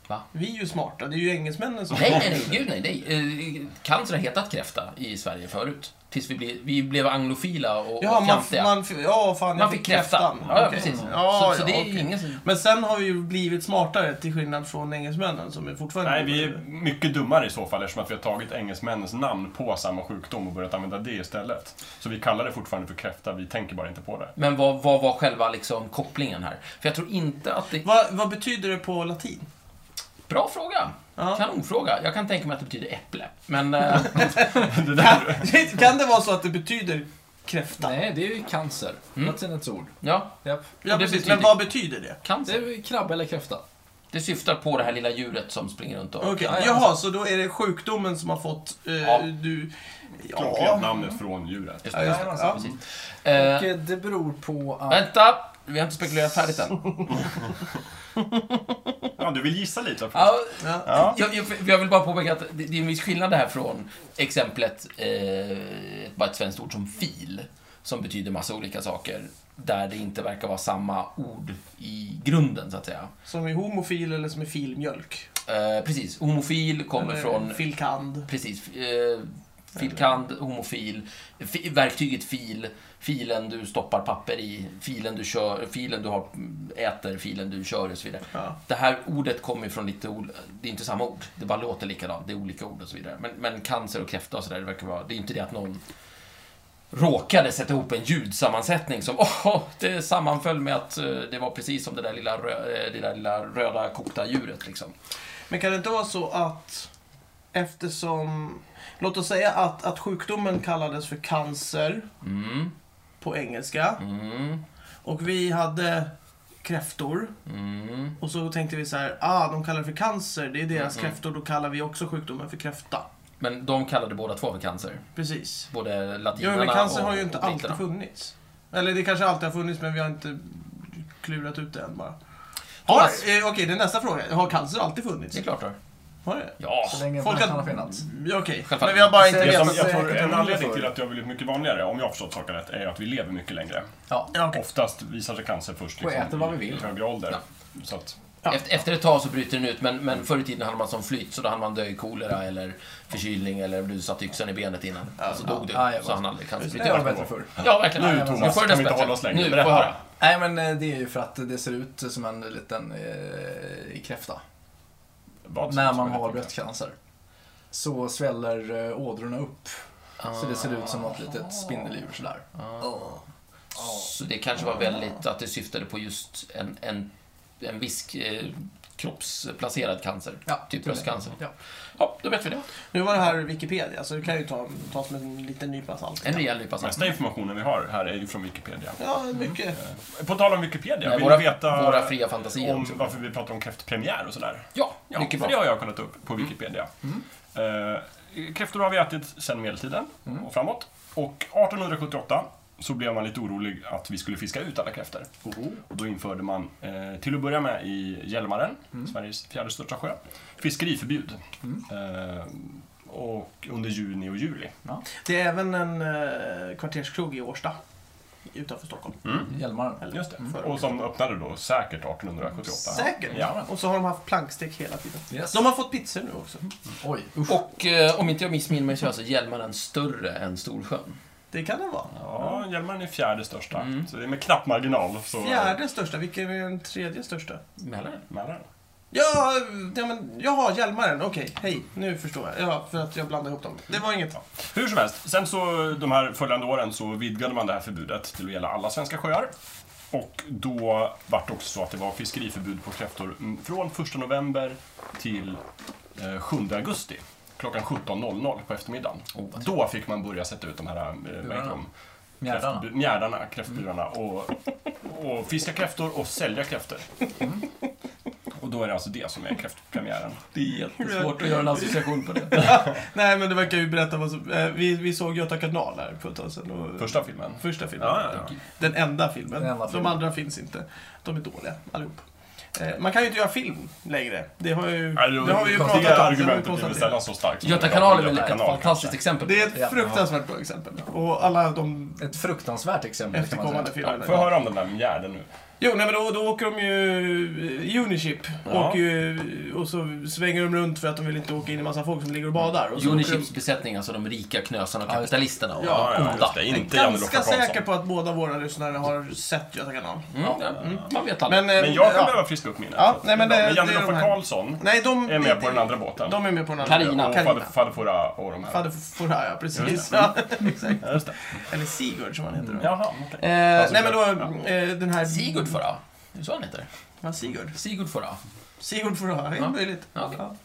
Speaker 2: Va?
Speaker 1: Vi är ju smarta. Det är ju engelsmännen som...
Speaker 2: Nej, nej, nej, gud nej. nej. Eh, Cancer har hetat kräfta i Sverige förut. Tills vi, blev vi blev anglofila och,
Speaker 1: Ja,
Speaker 2: och
Speaker 1: man,
Speaker 2: fjantiga.
Speaker 1: man, ja, fan, jag
Speaker 2: Man fick kräftan. Ja, ja,
Speaker 1: Okej.
Speaker 2: precis.
Speaker 1: Ja,
Speaker 2: så, så
Speaker 1: ja,
Speaker 2: det är
Speaker 1: okej.
Speaker 2: ingen som...
Speaker 1: Men sen har vi ju blivit smartare till skillnad från engelsmännen som är fortfarande...
Speaker 4: Nej, vi är mycket dummare i så fall eftersom att vi har tagit engelsmännens namn på samma sjukdom och börjat använda det istället. Så vi kallar det fortfarande för kräfta, vi tänker bara inte på det.
Speaker 2: Men vad, vad var själva liksom, kopplingen här? För jag tror inte att det...
Speaker 1: Vad, vad betyder det på latin?
Speaker 2: Bra fråga.
Speaker 1: Ja.
Speaker 2: Kanonfråga. Jag kan tänka mig att det betyder äpple. Men eh,
Speaker 4: det
Speaker 1: Kan,
Speaker 4: där,
Speaker 1: kan det vara så att det betyder kräfta?
Speaker 3: Nej, det är ju cancer.
Speaker 2: Mm.
Speaker 3: Latinets ord.
Speaker 2: ja,
Speaker 3: Japp.
Speaker 1: Ja,
Speaker 2: Och det
Speaker 1: precis.
Speaker 2: betyder-
Speaker 1: Men vad betyder det?
Speaker 3: Det
Speaker 2: cancer.
Speaker 3: är ju krabba eller kräfta.
Speaker 2: Det syftar på det här lilla djuret som springer runt och...
Speaker 1: Okej,
Speaker 3: Ja, ja,
Speaker 1: jaha, så då är det sjukdomen som har fått... Eh,
Speaker 2: Ja.
Speaker 1: Du...
Speaker 4: klockrent namnet från djuret.
Speaker 2: Just det, just det.
Speaker 1: Ja.
Speaker 2: Ja, precis.
Speaker 3: Och
Speaker 2: Eh,
Speaker 3: eh, det beror på att...
Speaker 2: vänta! Vi har inte spekulerat färdigt än.
Speaker 4: Ja, du vill gissa lite? först.
Speaker 2: Ja,
Speaker 1: Ja.
Speaker 4: Ja.
Speaker 2: jag, jag, jag vill bara påpeka att det, det är en viss skillnad det här från exemplet, eh, bara ett svenskt ord som fil. som betyder massa olika saker där det inte verkar vara samma ord i grunden, så att säga.
Speaker 1: Som är homofil eller som är filmjölk.
Speaker 2: Eh, precis, homofil kommer
Speaker 1: Eller
Speaker 2: från...
Speaker 1: Filkand.
Speaker 2: Precis. Eh, filkand, homofil, fi, verktyget fil, filen du stoppar papper i, filen du, kör, filen du har, äter, filen du kör och så vidare.
Speaker 1: Ja.
Speaker 2: Det här ordet kommer ju från lite ol- det är inte samma ord, det bara låter likadant, det är olika ord och så vidare. Men, men cancer och kräfta och sådär, det verkar vara, det är inte det att någon råkade sätta ihop en ljudsammansättning som, åh, det sammanföll med att eh, det var precis som det där lilla, rö- eh, det där lilla röda kokta djuret liksom.
Speaker 1: Men kan det inte vara så att eftersom... Låt oss säga att, att sjukdomen kallades för cancer
Speaker 2: Mm,
Speaker 1: på engelska.
Speaker 2: mm,
Speaker 1: Och vi hade kräftor.
Speaker 2: mm.
Speaker 1: Och så tänkte vi så här, ah, de kallar det för cancer, det är
Speaker 2: Mm-hmm.
Speaker 1: deras kräftor, då kallar vi också sjukdomen för kräfta.
Speaker 2: Men de kallade båda två för cancer.
Speaker 1: Precis.
Speaker 2: Både
Speaker 1: Jo,
Speaker 2: latinarna
Speaker 1: men cancer
Speaker 2: och
Speaker 1: har ju inte
Speaker 2: och
Speaker 1: alltid
Speaker 2: britterna.
Speaker 1: funnits. Eller det kanske alltid har funnits, men vi har inte klurat ut det än bara. Har, eh,
Speaker 2: Thomas.
Speaker 1: okej, det är nästa fråga. Har cancer alltid funnits?
Speaker 2: Det är klart det har.
Speaker 1: Har det?
Speaker 2: Ja.
Speaker 3: Så länge
Speaker 1: Folk
Speaker 3: människan
Speaker 1: har-
Speaker 3: har Mm. funnits.
Speaker 1: Ja, okej.
Speaker 2: Självklart.
Speaker 1: Men vi har bara inte
Speaker 3: Det
Speaker 4: Det
Speaker 3: vet
Speaker 4: som,
Speaker 1: vetat.
Speaker 3: jag
Speaker 4: jag
Speaker 3: säkert om
Speaker 4: tror, en
Speaker 3: det
Speaker 4: anledning
Speaker 3: förut.
Speaker 4: till att det har blivit mycket vanligare, om jag har förstått saken rätt, är att vi lever mycket längre.
Speaker 3: Ja.
Speaker 1: Ja, okej.
Speaker 4: Oftast visar sig cancer först liksom
Speaker 3: Och äter vad vi
Speaker 4: i
Speaker 3: vill.
Speaker 4: högre ålder. Så att,
Speaker 1: Ja.
Speaker 2: Efter, efter ett tag så bryter den ut, men, men förr i tiden hade man som flytt, så då hade man dö i kolera eller förkylning eller du satte yxan i benet innan. Och så dog du,
Speaker 3: Ja, jag
Speaker 2: så
Speaker 3: vet.
Speaker 2: han aldrig
Speaker 1: Just
Speaker 2: cancer.
Speaker 3: Det var bättre förr.
Speaker 2: Ja, verkligen.
Speaker 4: nu
Speaker 2: Ja,
Speaker 4: Thomas,
Speaker 2: får det
Speaker 4: kan vi inte
Speaker 2: dess bättre.
Speaker 4: hålla oss längre.
Speaker 2: Nu, får
Speaker 4: Berätta.
Speaker 2: jag höra.
Speaker 3: Nej, men eh, det är ju för att det ser ut som en liten eh, kräfta.
Speaker 4: vad
Speaker 3: När
Speaker 4: som-
Speaker 3: man
Speaker 4: som-
Speaker 3: har bröstcancer. Så sväller eh, ådrorna upp. Så det ser ut som något litet spindeldjur sådär.
Speaker 2: Så det kanske var väldigt att det syftade på just en, en, en viss eh, kroppsplacerad cancer. typ bröstcancer.
Speaker 3: Ja.
Speaker 2: Ja, då vet vi det.
Speaker 1: Nu var det här Wikipedia, så det kan ju ta, tas med en liten nypa salt.
Speaker 2: En rejäl nypa salt.
Speaker 4: Mesta informationen vi har här är ju från Wikipedia.
Speaker 1: Ja, mycket.
Speaker 4: På tal om Wikipedia,
Speaker 2: Nej,
Speaker 4: vill
Speaker 2: Eh, våra-
Speaker 4: du veta
Speaker 2: våra fria fantasier
Speaker 4: om
Speaker 2: också.
Speaker 4: varför vi pratar om kräftpremiär och sådär? Mm.
Speaker 2: Ja,
Speaker 4: Ja,
Speaker 2: mycket
Speaker 4: för
Speaker 2: bra.
Speaker 4: det har jag kollat upp på Wikipedia. Eh, kräftor har vi ätit sedan medeltiden och framåt. Och 1878 så blev man lite orolig att vi skulle fiska ut alla kräftor. Och då införde man, eh, till att börja med i Hjälmaren, Sveriges fjärde största sjö, fiskeriförbud. Eh, och under juni och juli.
Speaker 1: Det är även en eh, kvarterskrog i Årsta. Utanför Stockholm.
Speaker 3: Mm. Hjälmaren.
Speaker 1: Eller?
Speaker 4: Just det. Och som öppnade då säkert 1878.
Speaker 1: Säkert.
Speaker 4: Ja.
Speaker 1: Och så har de haft plankstek hela tiden.
Speaker 3: Yes.
Speaker 1: De har fått pizzor nu också.
Speaker 3: Oj, usch.
Speaker 2: Och eh, om inte jag missminner mig så är alltså Hjälmaren större än Storsjön.
Speaker 1: Det kan det vara.
Speaker 4: Ja, Hjälmaren är fjärde största. Så det är med knapp marginal. Så...
Speaker 1: Fjärde största, vilken är den tredje största?
Speaker 2: Mälaren?
Speaker 4: Mälaren.
Speaker 1: Ja, ja men, jaha, Hjälmaren. Okej, hej. Nu förstår jag. Ja, för att jag blandade ihop dem. Det var inget.
Speaker 4: Hur som helst, sen så de här följande åren så vidgade man det här förbudet till att gälla alla svenska sjöar. Och då vart det också så att det var fiskeriförbud på kräftor mm, från 1 november till eh, 7 augusti klockan 17.00 på eftermiddagen.
Speaker 2: Oh, vad
Speaker 4: då fick man börja sätta ut de här eh, vad heter de?
Speaker 3: Mjärdarna.
Speaker 4: Kräftbu- mjärdarna, kräftburarna
Speaker 2: Mm.
Speaker 4: och, och fiska kräftor och sälja kräftor.
Speaker 2: Mm.
Speaker 4: Och då är det alltså det som är kräftpremiären.
Speaker 2: Det är jättesvårt att göra en association på det.
Speaker 1: Nej, men det verkar ju berätta vad som... Eh, vi, vi såg Göta kanal här för ett tag sedan. Och,
Speaker 4: Första filmen.
Speaker 1: första filmen.
Speaker 4: Ja, ja, ja.
Speaker 1: Den enda filmen.
Speaker 3: Den enda filmen.
Speaker 1: De andra finns inte. De är dåliga, allihop. Eh, man kan ju inte göra film längre. Det har, ju,
Speaker 4: Alltså,
Speaker 1: det har vi ju pratat om.
Speaker 4: det
Speaker 1: det har vi
Speaker 4: argumentet blir väl
Speaker 1: konstaterat.
Speaker 4: sällan så starkt. som
Speaker 2: Göta
Speaker 4: det är idag.
Speaker 2: kanal är väl
Speaker 4: Göta
Speaker 2: ett
Speaker 4: kanal,
Speaker 2: fantastiskt
Speaker 4: kanske.
Speaker 2: exempel.
Speaker 1: Det är ett
Speaker 3: Ja.
Speaker 1: fruktansvärt bra exempel. Och alla de
Speaker 3: Ett fruktansvärt exempel kan man säga.
Speaker 1: efterkommande
Speaker 4: Ja,
Speaker 1: filmerna.
Speaker 4: får jag höra om den där mjärden nu?
Speaker 1: Jo, nej, men då, då åker de ju... Uniship
Speaker 4: Ja.
Speaker 1: åker ju, och så svänger de runt för att de vill inte åka in i massa folk som ligger och badar. Och så åker de-
Speaker 2: Unichips besättning, alltså de rika knösarna och kapitalisterna och
Speaker 1: Ja,
Speaker 2: de goda.
Speaker 4: Inte
Speaker 1: Ganska säker på att båda våra lyssnare har sett Göta kanal.
Speaker 2: Mm, ja, Man vet aldrig.
Speaker 1: Men, eh,
Speaker 4: Men jag kan
Speaker 1: ja.
Speaker 4: behöva friska upp minnet.
Speaker 1: Ja, nej, men det-
Speaker 4: men Janne
Speaker 1: det är de
Speaker 4: Loffe
Speaker 1: här.
Speaker 4: Karlsson
Speaker 1: Nej, de...
Speaker 4: är med på den andra båten.
Speaker 1: De är med på den andra.
Speaker 2: Carina.
Speaker 4: och
Speaker 1: Carina.
Speaker 4: Fader- Fadefora och de här.
Speaker 1: Fadde Forhaya, ja, precis.
Speaker 4: Just
Speaker 1: Ja, exakt.
Speaker 4: Ja, just det.
Speaker 1: Eller Sigurd som han heter. då.
Speaker 4: Jaha, okej.
Speaker 1: Eh,
Speaker 4: Alltså,
Speaker 1: nej men då,
Speaker 4: ja.
Speaker 1: eh, den här...
Speaker 2: Sigurd Fora. Det är så han heter.
Speaker 1: Vad Sigurd?
Speaker 2: Sigurd Fora.
Speaker 1: Sigurd Forhaya, det är
Speaker 2: Ja.
Speaker 1: möjligt.
Speaker 2: Ja, okej.
Speaker 1: Ja.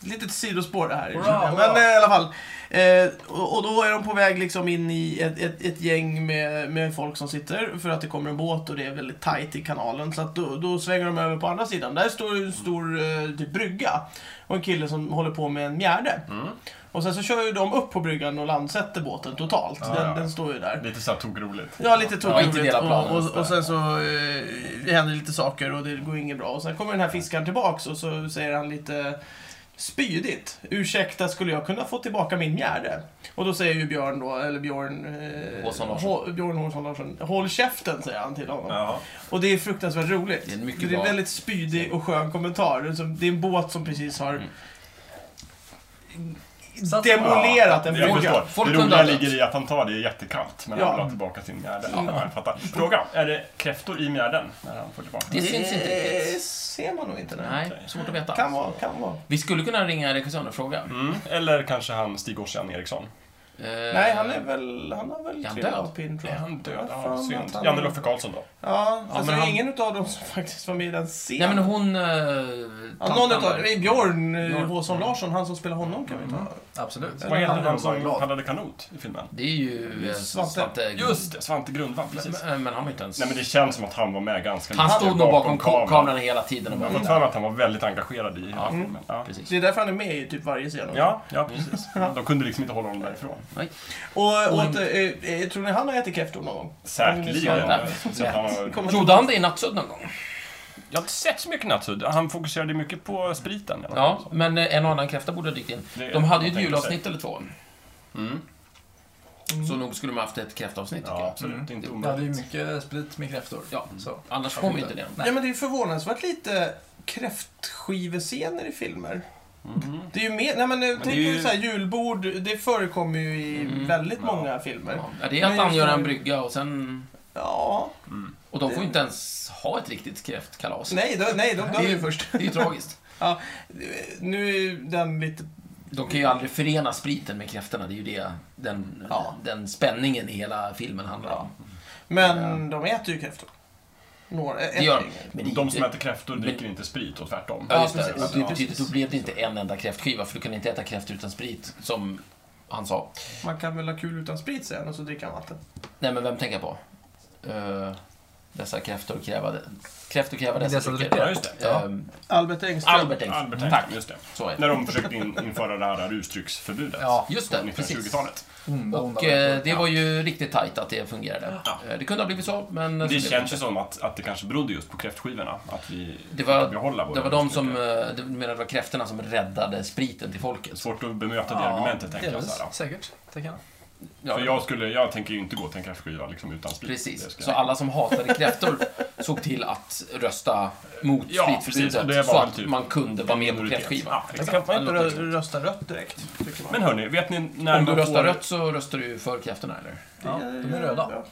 Speaker 1: Litet sidospår det här.
Speaker 3: Hurra,
Speaker 1: men
Speaker 3: hurra.
Speaker 1: eh, i alla fall. Eh, och, och då är de på väg liksom in i ett, ett, ett gäng med, med folk som sitter för att det kommer en båt och det är väldigt tajt i kanalen. Så att då, då svänger de över på andra sidan. Där står ju en stor eh, typ brygga och en kille som håller på med en mjärde.
Speaker 2: Mm.
Speaker 1: Och sen så kör ju de upp på bryggan och landsätter båten totalt.
Speaker 4: Ja,
Speaker 1: den,
Speaker 4: ja.
Speaker 1: den står ju där.
Speaker 4: Lite såhär tokroligt.
Speaker 1: Ja, lite
Speaker 2: Ja, inte
Speaker 1: tokigt.
Speaker 2: dela
Speaker 1: och,
Speaker 2: planen.
Speaker 1: och, och sen så eh, det händer lite saker och det går inget bra. Och sen kommer den här fiskaren tillbaks och så säger han lite Spydigt. Ursäkta, skulle jag kunna få tillbaka min mjärde? Och då säger ju Björn då, eller Björn... Eh,
Speaker 2: Håsson Larsson.
Speaker 1: Hå- Björn Håsson Larsson. Håll käften, säger han till honom.
Speaker 4: Ja.
Speaker 1: Och det är fruktansvärt roligt.
Speaker 2: Det är en mycket
Speaker 1: en
Speaker 2: bra-
Speaker 1: väldigt spydig och skön kommentar. Det är som- Det är en båt som precis
Speaker 2: Mm.
Speaker 1: har
Speaker 3: Satt-
Speaker 1: demolerat en
Speaker 4: jag
Speaker 1: brygga.
Speaker 4: förstår.
Speaker 2: Folk
Speaker 4: det roliga
Speaker 2: kunde ha dött.
Speaker 4: ligger i att han tar det i jättekallt, men
Speaker 1: Ja.
Speaker 4: han vill ha tillbaka sin mjärde. Ja, jag fattar. Fråga, är det kräftor i mjärden när han får tillbaka
Speaker 2: Det syns inte
Speaker 1: Det
Speaker 2: riktigt.
Speaker 1: Eh, ser man nog inte. Nej.
Speaker 2: Nej, svårt att veta.
Speaker 1: Kan vara, kan vara.
Speaker 2: Vi skulle kunna ringa regissören och fråga.
Speaker 4: Mm. Eller kanske han Stig Ossian Eriksson.
Speaker 1: Nej, han är väl... Han har väl
Speaker 2: Eh, Är han
Speaker 1: trillat
Speaker 2: död?
Speaker 1: av pinn, tror
Speaker 4: Är
Speaker 1: jag.
Speaker 4: han död?
Speaker 1: Ja,
Speaker 4: Ja,
Speaker 1: fan,
Speaker 4: synd.
Speaker 1: att han-
Speaker 4: Janne Loffe Karlsson då?
Speaker 1: Ja, fast
Speaker 2: men
Speaker 1: det är
Speaker 2: han-
Speaker 1: ingen utav dem som faktiskt var med i den scenen.
Speaker 2: Nej, men hon... eh,
Speaker 1: Ja,
Speaker 2: tantan
Speaker 1: någon
Speaker 2: där.
Speaker 1: utav, det är Björn eh,
Speaker 2: Björn.
Speaker 1: Håsson Larsson, han som spelar honom kan vi
Speaker 3: Mm.
Speaker 1: ta.
Speaker 3: Absolut.
Speaker 4: Vad heter
Speaker 3: Han är
Speaker 4: han
Speaker 3: bara
Speaker 4: som
Speaker 3: glad.
Speaker 4: paddlade kanot i filmen?
Speaker 2: Det är ju eh,
Speaker 1: Svante.
Speaker 4: Just det, Svante Grundvall. Precis.
Speaker 2: Men, men han var inte ens...
Speaker 4: Mm. Nej men det känns som att han var med ganska
Speaker 2: han
Speaker 4: mycket
Speaker 2: stod nog bakom kameran. kameran hela tiden och
Speaker 4: Jag
Speaker 2: bara...
Speaker 4: har fått för mig att han var väldigt engagerad i hela
Speaker 2: Mm.
Speaker 4: filmen. Ja.
Speaker 2: Precis.
Speaker 1: Det är därför han är med i typ varje scen. också.
Speaker 4: Ja, ja, precis. De kunde liksom inte hålla honom därifrån.
Speaker 1: Och åter, eh, eh, tror ni han har ätit kräftor någon gång?
Speaker 4: Säkerligen.
Speaker 1: Mm,
Speaker 2: nej.
Speaker 4: Så att han har-
Speaker 1: Kommer-
Speaker 2: Gjorde han det i Nattsudd någon gång?
Speaker 4: Jag har inte sett så mycket nattsudd. Han fokuserade mycket på spriten. i alla
Speaker 2: Ja,
Speaker 4: fall.
Speaker 2: men eh, en och annan kräfta borde ha dykt in.
Speaker 4: Det-
Speaker 2: De hade ju
Speaker 4: jag
Speaker 2: ett
Speaker 4: tänker
Speaker 2: julavsnitt eller två. Mm.
Speaker 4: Mm.
Speaker 2: Så nog skulle de haft ett kräftavsnitt, tycker
Speaker 4: Ja,
Speaker 2: jag. Mm.
Speaker 4: absolut. Inte
Speaker 3: Ja, det är ju
Speaker 4: omöjligt.
Speaker 3: mycket sprit med kräftor.
Speaker 2: Ja.
Speaker 3: Så.
Speaker 2: Annars kommer inte det.
Speaker 1: Ja, men det är ju förvånansvärt lite kräftskivescener i filmer.
Speaker 4: Mhm.
Speaker 1: Det är ju mer, nej men, eh, tänk
Speaker 4: det är
Speaker 1: ju...
Speaker 4: ju-
Speaker 1: så här, julbord, det förekommer ju i
Speaker 2: Mm,
Speaker 1: väldigt
Speaker 4: ja.
Speaker 1: många filmer.
Speaker 2: Ja, det är att
Speaker 1: Men
Speaker 2: han gör
Speaker 1: just-
Speaker 2: en brygga och sen...
Speaker 1: Ja,
Speaker 2: Och de får ju inte ens ha ett riktigt kräftkalas.
Speaker 1: nej, då, nej, de dör
Speaker 2: Det är-
Speaker 1: ju först.
Speaker 2: Det är ju tragiskt.
Speaker 1: Ja, nu är ju den lite...
Speaker 2: De kan ju aldrig förena spriten med kräftorna. Det är ju det, den,
Speaker 1: Ja.
Speaker 2: den spänningen i hela filmen handlar om.
Speaker 1: Men de äter ju kräftor. Några,
Speaker 2: Det
Speaker 1: ett
Speaker 2: gör
Speaker 1: gäng.
Speaker 2: men det är
Speaker 4: De
Speaker 2: ju
Speaker 4: som
Speaker 2: inte-
Speaker 4: äter kräftor dricker inte sprit och tvärtom.
Speaker 2: Ja, just det.
Speaker 1: precis.
Speaker 2: Och det
Speaker 1: Ja,
Speaker 2: betyder,
Speaker 1: precis.
Speaker 2: då blev det inte en enda kräftskiva, för du kan inte äta kräftor utan sprit, som han sa.
Speaker 1: Man kan väl ha kul utan sprit säger han och så dricker han vatten.
Speaker 2: Nej, men vem tänker jag på? Eh, dessa kräftor krävade... Kräftor kräva
Speaker 3: Men
Speaker 2: dessa
Speaker 3: dessa
Speaker 2: drycker.
Speaker 3: drycker.
Speaker 4: Ja, just det.
Speaker 3: Ja.
Speaker 2: Eh,
Speaker 1: Albert Engström.
Speaker 2: Albert Engström.
Speaker 4: Albert Engström,
Speaker 2: Tack.
Speaker 4: just det.
Speaker 2: Så är det.
Speaker 4: När de försökte in, införa det här rusdrycksförbudet.
Speaker 3: Ja,
Speaker 2: Just
Speaker 4: på
Speaker 2: det, precis.
Speaker 4: 1920-talet.
Speaker 3: Onda, onda
Speaker 2: Och eh, det var ju riktigt tajt att det fungerade.
Speaker 4: Ja.
Speaker 2: Eh, Det kunde ha blivit så, men... så
Speaker 4: Det
Speaker 2: blev
Speaker 4: känns
Speaker 2: inte.
Speaker 4: ju som att, att det kanske berodde just på kräftskivorna. Att vi
Speaker 2: Det var-
Speaker 4: fick behålla våra
Speaker 2: Det var de som,
Speaker 4: rusdrycker.
Speaker 2: eh, du menar det var kräftorna som räddade spriten till folket?
Speaker 4: Svårt att bemöta det
Speaker 3: Ja,
Speaker 4: argumentet, tänker jag.
Speaker 3: delvis.
Speaker 4: Så här.
Speaker 3: Säkert. tänker jag.
Speaker 2: Ja,
Speaker 4: För jag, skulle, jag tänker ju inte gå till en kräftskiva liksom, utan sprit. Det ska
Speaker 2: precis.
Speaker 4: jag-
Speaker 2: Så alla som hatade kräftor såg till att rösta mot
Speaker 4: Ja,
Speaker 2: spritförbudet
Speaker 4: precis. Och det var
Speaker 2: så
Speaker 4: väl
Speaker 2: att
Speaker 4: typ
Speaker 2: man kunde vara med på
Speaker 4: Minoritet.
Speaker 2: kräftskivan.
Speaker 4: Ja,
Speaker 1: Då
Speaker 4: exakt.
Speaker 1: kan man inte
Speaker 2: Ja, det låter
Speaker 1: rö- rösta rött direkt, tycker man.
Speaker 4: Men hörni, vet ni när
Speaker 2: Om du
Speaker 4: man
Speaker 2: röstar
Speaker 4: får...
Speaker 2: rött så röstar du för kräftorna, eller?
Speaker 3: Ja, de är röda.
Speaker 1: Ja.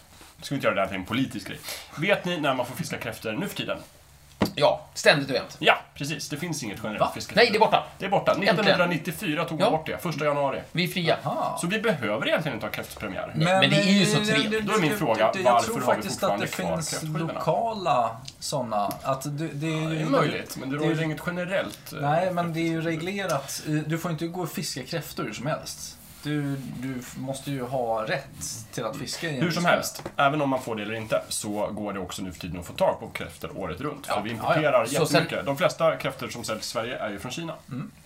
Speaker 4: Ska vi inte göra det här till en politisk grej. Vet ni när man får fiska kräftor nu för tiden?
Speaker 2: Ja, ständigt och jämt.
Speaker 4: Ja, precis. Det finns inget generellt
Speaker 2: Va?
Speaker 4: fiske.
Speaker 2: Nej, det är borta.
Speaker 4: Det är borta.
Speaker 2: Äntligen.
Speaker 4: 1994 tog
Speaker 2: Ja.
Speaker 4: man bort det. Första januari.
Speaker 2: Vi är fria.
Speaker 3: Aha.
Speaker 4: Så vi behöver egentligen inte ha kräftpremiär.
Speaker 2: Men det är ju
Speaker 3: eh,
Speaker 2: så trevligt.
Speaker 4: Då är min fråga,
Speaker 3: Jag
Speaker 4: varför
Speaker 3: tror
Speaker 4: har vi
Speaker 3: faktiskt att
Speaker 4: fortfarande
Speaker 3: det
Speaker 4: kvar
Speaker 3: finns
Speaker 4: kräftskivorna?
Speaker 3: lokala sådana. Att det, det är ju
Speaker 4: Det är möjligt, men det
Speaker 3: Det är-
Speaker 4: råder inget generellt. eh,
Speaker 3: Nej, men det är ju reglerat. i- Du får inte gå och fiska kräftor hur som helst. Du, du f- måste ju ha rätt till att fiska i en
Speaker 4: Hur som
Speaker 3: fiskare.
Speaker 4: helst, även om man får det eller inte, så går det också nu för tiden att få tag på kräftor året runt. För
Speaker 3: Ja,
Speaker 4: vi
Speaker 3: ja,
Speaker 4: importerar
Speaker 2: Så sen- Mm.
Speaker 4: jättemycket. De flesta kräftor som säljs i Sverige är ju från Kina.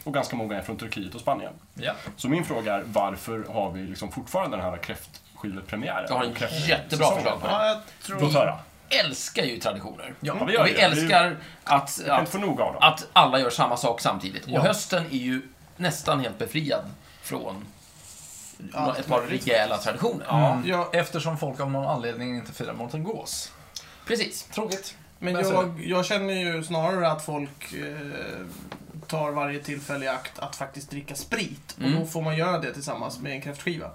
Speaker 4: Och ganska många är från Turkiet och Spanien.
Speaker 3: Ja.
Speaker 4: Så min fråga är, varför har vi liksom fortfarande den här kräftskivepremiären?
Speaker 2: Jag har
Speaker 4: Och
Speaker 2: en
Speaker 4: kräft-
Speaker 2: jättebra
Speaker 4: säsongen?
Speaker 2: förslag på det.
Speaker 1: Ja, jag tror...
Speaker 4: Låt höra.
Speaker 2: Älskar ju traditioner.
Speaker 4: Ja, vi gör
Speaker 2: Och vi
Speaker 4: det. Vi
Speaker 2: älskar att,
Speaker 4: kan inte
Speaker 2: att,
Speaker 4: få nog av dem.
Speaker 2: att alla gör samma sak samtidigt.
Speaker 3: Ja.
Speaker 2: Och hösten är ju nästan helt befriad från
Speaker 1: Ja,
Speaker 2: ett par rejäla traditioner. Mm.
Speaker 3: Ja,
Speaker 1: Ja.
Speaker 3: Eftersom folk av någon anledning inte firar mot en gås.
Speaker 2: Precis.
Speaker 3: Tråkigt.
Speaker 1: Men
Speaker 3: Men så-
Speaker 1: jag, jag känner ju snarare att folk eh, tar varje tillfälle i akt att faktiskt dricka sprit. Och då får man göra det tillsammans med en kräftskiva.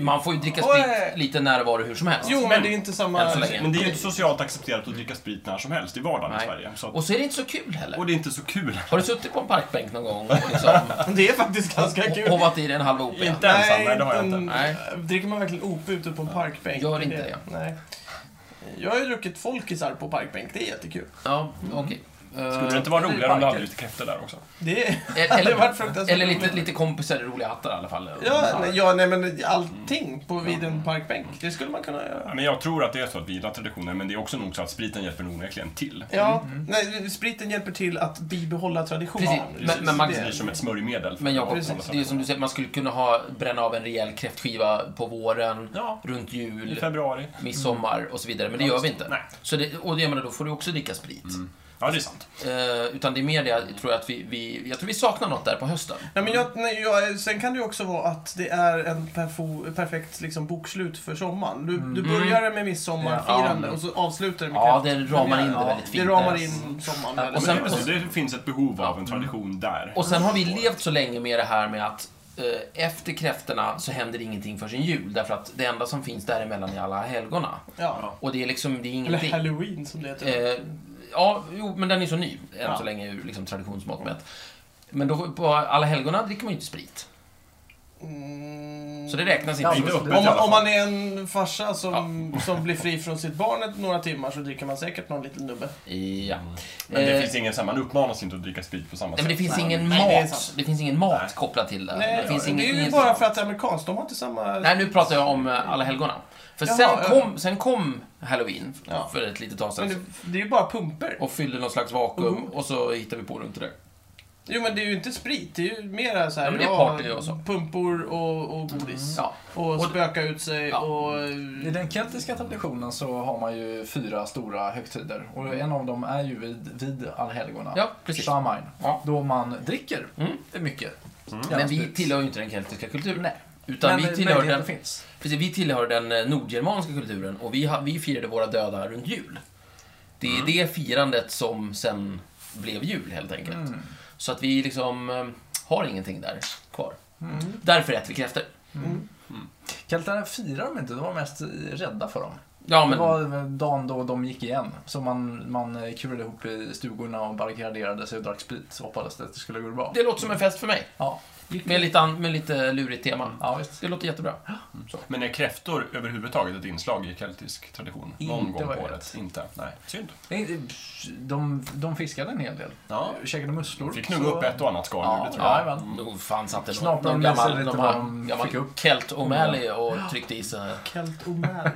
Speaker 2: Man får ju dricka
Speaker 1: Oj.
Speaker 2: sprit lite närvaro hur som helst.
Speaker 1: Jo, men,
Speaker 4: Men-
Speaker 1: det är inte
Speaker 2: Än
Speaker 1: samma...
Speaker 2: så länge.
Speaker 4: Men det är ju inte socialt accepterat att dricka sprit när som helst i vardagen i
Speaker 2: Nej.
Speaker 4: Sverige. Så att,
Speaker 2: Och så är det inte så kul heller.
Speaker 4: och det är inte så kul.
Speaker 2: Har du suttit på en parkbänk någon gång och liksom
Speaker 1: Det är faktiskt ganska kul.
Speaker 2: hovat i dig en halv OP?
Speaker 4: Inte ensam, nej det har jag
Speaker 1: en-
Speaker 4: inte.
Speaker 2: Nej.
Speaker 1: Dricker man verkligen OP ute på en parkbänk?
Speaker 2: Gör inte det.
Speaker 1: Nej. Jag har ju druckit folkisar på parkbänk, det är jättekul.
Speaker 2: Ja, okej.
Speaker 4: Skulle det inte vara roligare om du hade lite kräftor där också?
Speaker 1: Det är...
Speaker 2: Eh,
Speaker 1: Det
Speaker 2: Eller,
Speaker 1: var fruktansvärt
Speaker 2: eller lite,
Speaker 1: roligt.
Speaker 2: lite kompisar i roliga hattar i alla fall.
Speaker 1: Ja, nej, ja, nej men allting
Speaker 2: Mm.
Speaker 1: på vid en parkbänk, det skulle man kunna göra.
Speaker 4: Ja, Men jag tror att det är så att vi gillar traditioner, men det är också nog så att spriten hjälper onekligen till.
Speaker 2: Eh,
Speaker 1: Ja, nej, spriten hjälper till att bibehålla traditionen.
Speaker 2: Mm. Precis, men- men man-
Speaker 4: det blir som ett smörjmedel. för
Speaker 2: Men Jakob,
Speaker 4: att hålla sig
Speaker 2: det är som du säger, man skulle kunna ha, bränna av en rejäl kräftskiva på våren,
Speaker 4: Ja.
Speaker 2: runt
Speaker 4: I
Speaker 2: jul,
Speaker 4: februari.
Speaker 2: midsommar och så vidare. Men det gör vi inte.
Speaker 4: Nej. Mm.
Speaker 2: Så det, och det, jag menar, då får du också dricka sprit.
Speaker 4: Ja, det är sant.
Speaker 2: Eh, utan det är mer det, jag tror jag att vi, vi, jag tror vi saknar något där på hösten.
Speaker 1: Nej, men jag, nej, jag, sen kan det ju också vara att det är en perfo, perfekt liksom, bokslut för sommaren. Du, du börjar med midsommarfirande
Speaker 2: Mm. Ja.
Speaker 1: och så avslutar du med
Speaker 2: Ja,
Speaker 1: kräft.
Speaker 2: det ramar in det väldigt fint.
Speaker 1: Det ramar
Speaker 2: där.
Speaker 1: in sommaren
Speaker 2: Ja,
Speaker 1: väldigt
Speaker 2: och sen-
Speaker 4: Men det, är väl så, det finns ett behov av en tradition där.
Speaker 2: Och sen har vi levt så länge med det här med att eh, efter kräftorna så händer ingenting förrän jul. Därför att det enda som finns däremellan är alla helgona.
Speaker 1: Ja.
Speaker 2: Och det är liksom, det är
Speaker 1: Eller
Speaker 2: ingenting.
Speaker 1: halloween som det heter.
Speaker 2: Eh, ja, jo, men den är så ny än
Speaker 1: Ja.
Speaker 2: så länge ur liksom, traditionsmått mätt. Men då, på alla helgona dricker man ju inte sprit.
Speaker 1: Mm.
Speaker 2: Så det räknas
Speaker 3: Ja,
Speaker 2: inte.
Speaker 4: Inte
Speaker 3: men-
Speaker 4: öppet
Speaker 2: som-
Speaker 4: i
Speaker 1: Om man,
Speaker 4: alla
Speaker 1: om
Speaker 4: fall.
Speaker 1: man är en farsa som, som blir fri från sitt barn ett, några timmar så dricker man säkert någon liten nubbe.
Speaker 2: Ja.
Speaker 4: Men det
Speaker 2: Eh,
Speaker 4: finns ingen, så här, man uppmanas inte att dricka sprit på samma
Speaker 2: Nej, men det
Speaker 4: sätt.
Speaker 2: finns
Speaker 1: Nej,
Speaker 2: ingen
Speaker 1: nej,
Speaker 2: mat.
Speaker 1: det är
Speaker 2: Det,
Speaker 1: sant.
Speaker 2: finns ingen mat
Speaker 4: Nej.
Speaker 2: kopplad till det.
Speaker 1: Nej,
Speaker 2: det, finns
Speaker 1: det
Speaker 2: ingen-
Speaker 1: är ju
Speaker 2: ingen-
Speaker 1: bara för att det är amerikanskt. De har inte samma...
Speaker 2: Nej, nu pratar jag om eh, alla helgona. För
Speaker 1: Jaha,
Speaker 2: sen,
Speaker 1: ja.
Speaker 2: kom, sen kom halloween f-
Speaker 1: Ja.
Speaker 2: för ett litet tag
Speaker 1: men
Speaker 2: sedan.
Speaker 1: det, det är ju bara pumper.
Speaker 2: Och fyllde någon slags vakuum
Speaker 3: Mm.
Speaker 1: Mhm.
Speaker 2: och så hittade vi på runt det.
Speaker 1: Jo, men det är ju inte sprit. Det är ju mera så här,
Speaker 2: Ja, men det är
Speaker 1: ja,
Speaker 2: party och så. Mm.
Speaker 1: pumpor och, och godis.
Speaker 2: Ja.
Speaker 1: Och
Speaker 2: Och-
Speaker 1: spöka ut sig
Speaker 2: Ja.
Speaker 1: och...
Speaker 3: I den keltiska traditionen så har man ju fyra stora högtider och en av dem är ju vid, vid allhelgona.
Speaker 2: Mm. Ja, precis.
Speaker 3: Shamain.
Speaker 2: Ja.
Speaker 3: Då man dricker
Speaker 2: Mm.
Speaker 3: mycket.
Speaker 2: Men vi
Speaker 3: Järnsprit.
Speaker 2: tillhör ju inte den keltiska kulturen.
Speaker 3: Nej.
Speaker 2: Utan
Speaker 3: Men
Speaker 2: vi tillhör,
Speaker 3: möjligheten
Speaker 2: den,
Speaker 3: finns.
Speaker 2: precis, vi tillhör den eh, nordgermanska kulturen och vi, ha- vi firade våra döda runt jul. Det är
Speaker 3: Mm.
Speaker 2: det firandet som sen blev jul, helt enkelt.
Speaker 3: Mm.
Speaker 2: Så att vi liksom eh, har ingenting där kvar. Därför äter vi kräftor.
Speaker 3: Mm.
Speaker 2: Mm.
Speaker 3: Keltarna firar de inte, de var mest rädda för dem.
Speaker 2: Ja, men...
Speaker 3: Det var dagen då de gick igen. Så man, man kurade ihop i stugorna och barrikaderade sig och drack sprit. och Hoppades att det skulle gå bra.
Speaker 2: Det låter som en fest för mig.
Speaker 3: Ja,
Speaker 2: Med lite, an- med lite lurigt tema.
Speaker 3: Mm. ja visst.
Speaker 2: Det låter jättebra.
Speaker 4: Men är kräftor överhuvudtaget ett inslag i keltisk tradition? Någon
Speaker 3: Inte
Speaker 4: gång
Speaker 3: vad
Speaker 4: på
Speaker 3: jag
Speaker 4: året? Inte? Nej. Synd.
Speaker 3: Nej, De, de fiskade en hel del.
Speaker 4: Ja.
Speaker 3: Käkade musslor.
Speaker 4: Fick nog
Speaker 3: så-
Speaker 4: upp ett och annat skaldjur,
Speaker 3: Ja,
Speaker 4: det tror jag.
Speaker 3: jajamän.
Speaker 2: Nog fan satt det någon,
Speaker 3: Knaprar
Speaker 2: någon
Speaker 3: de med sig
Speaker 2: gammal,
Speaker 3: lite
Speaker 2: någon
Speaker 3: vad de
Speaker 2: gammal
Speaker 3: fick upp.
Speaker 2: Kelt O'Malley och tryckte i sig,
Speaker 1: Kelt O'Malley.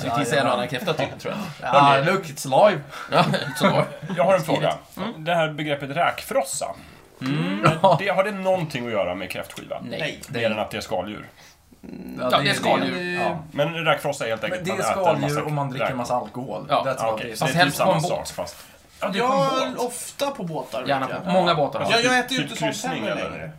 Speaker 2: tryckte i sig en och annan kräfta typ, tror jag.
Speaker 3: Ja, look, it's live!
Speaker 2: Ja, så var
Speaker 4: Jag har en fråga.
Speaker 2: Mm.
Speaker 4: Det här begreppet räkfrossa. Det, har det någonting att göra med kräftskiva?
Speaker 2: Nej.
Speaker 1: Nej.
Speaker 4: Mer än att det är skaldjur.
Speaker 2: Ja, det är skaldjur.
Speaker 3: Ja.
Speaker 4: Men räkfrossa är helt enkelt
Speaker 3: Men det är
Speaker 4: att man äter en
Speaker 3: skaldjur och man dricker
Speaker 4: räkor.
Speaker 3: en massa alkohol.
Speaker 2: Ja,
Speaker 3: That's
Speaker 4: Ja,
Speaker 3: what
Speaker 4: okej,
Speaker 3: it is.
Speaker 4: så det
Speaker 2: Fast
Speaker 4: är typ
Speaker 2: helst på
Speaker 4: samma
Speaker 2: en båt.
Speaker 4: sak fast... Ja, det är på en
Speaker 1: Jag,
Speaker 4: båt.
Speaker 1: ofta på båtar.
Speaker 2: Gärna
Speaker 1: vet jag.
Speaker 2: på många båtar.
Speaker 4: Ja.
Speaker 2: Ja,
Speaker 3: alltså.
Speaker 1: Ja, jag äter ju
Speaker 4: Typ
Speaker 1: inte sånt
Speaker 4: kryssning,
Speaker 1: heller
Speaker 4: eller?
Speaker 1: längre.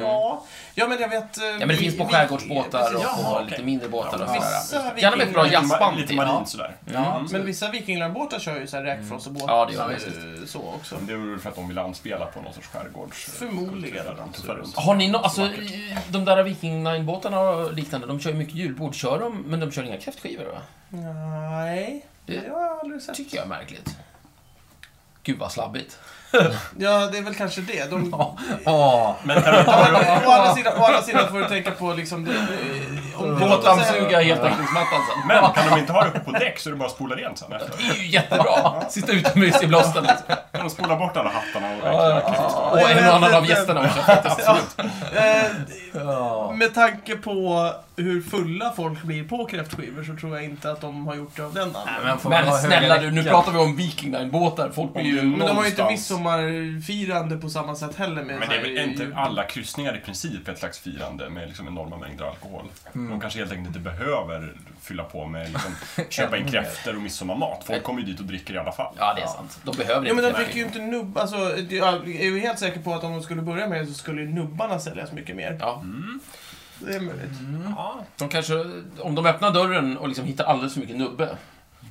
Speaker 1: Ja. ja, men jag vet... eh, Ja,
Speaker 2: Mm. men det finns på skärgårdsbåtar och på
Speaker 4: Jaha,
Speaker 2: lite
Speaker 4: okej.
Speaker 2: mindre båtar och
Speaker 4: Ja,
Speaker 2: sådär.
Speaker 1: Vissa
Speaker 2: Gärna med ett bra
Speaker 1: vikingar-
Speaker 4: Lite ma-
Speaker 2: jazzband
Speaker 4: Lite
Speaker 2: till.
Speaker 4: marint sådär.
Speaker 3: Ja.
Speaker 1: Men vissa vikinglandbåtar kör ju så här räkfrossebåtar.
Speaker 2: Ja, det gör
Speaker 1: så-
Speaker 2: de
Speaker 1: Så också.
Speaker 4: Det är väl för att de vill anspela på någon sorts skärgårds...
Speaker 1: Förmodligen.
Speaker 4: kultur där de tuffar runt.
Speaker 2: Har ni no- alltså de där Viking Line-båtarna och liknande, de kör ju mycket julbord, kör de, men de kör inga kräftskivor va?
Speaker 1: Nej, det har jag aldrig sett.
Speaker 2: Tycker jag är märkligt. Gud vad slabbigt.
Speaker 1: Ja, det är väl kanske det. De,
Speaker 3: Ja.
Speaker 4: Men kan vi ta det-
Speaker 1: å, andra sidan, å andra sidan får du tänka på liksom... Det, det- om
Speaker 2: Båtdammsuga heltäckningsmattan sen.
Speaker 4: men kan de inte ha det uppe på däck så är det bara att spola rent sen efter?
Speaker 2: Det är ju jättebra! Sitta utomhus i blåsten liksom.
Speaker 4: Kan de spola bort alla hattarna och
Speaker 2: Och en och annan av gästerna också.
Speaker 3: Ja.
Speaker 1: Eh, Med tanke på hur fulla folk blir på kräftskivor så tror jag inte att de har gjort det av den anledningen.
Speaker 3: Men, får man
Speaker 2: Men
Speaker 3: ha höga
Speaker 2: snälla du, nu
Speaker 3: däckar?
Speaker 2: pratar vi om Viking Line-båtar. Folk blir ju...
Speaker 1: Men de har ju inte
Speaker 4: någonstans.
Speaker 1: midsommarfirande på samma sätt heller. Med
Speaker 4: Men det är väl
Speaker 1: så här-
Speaker 4: inte alla kryssningar i princip ett slags firande med liksom enorma mängder alkohol. De kanske helt enkelt inte behöver fylla på med liksom, köpa in kräftor och midsommarmat. Folk kommer ju dit och dricker i alla fall.
Speaker 2: Ja, det är sant. De behöver
Speaker 1: Ja, men de
Speaker 2: inte
Speaker 1: fick ju inte nubb... Alltså, jag är ju helt säker på att om de skulle börja med det så skulle ju nubbarna säljas mycket mer.
Speaker 2: Ja,
Speaker 1: Det är möjligt.
Speaker 2: de kanske... Om de öppnar dörren och liksom hittar alldeles för mycket nubbe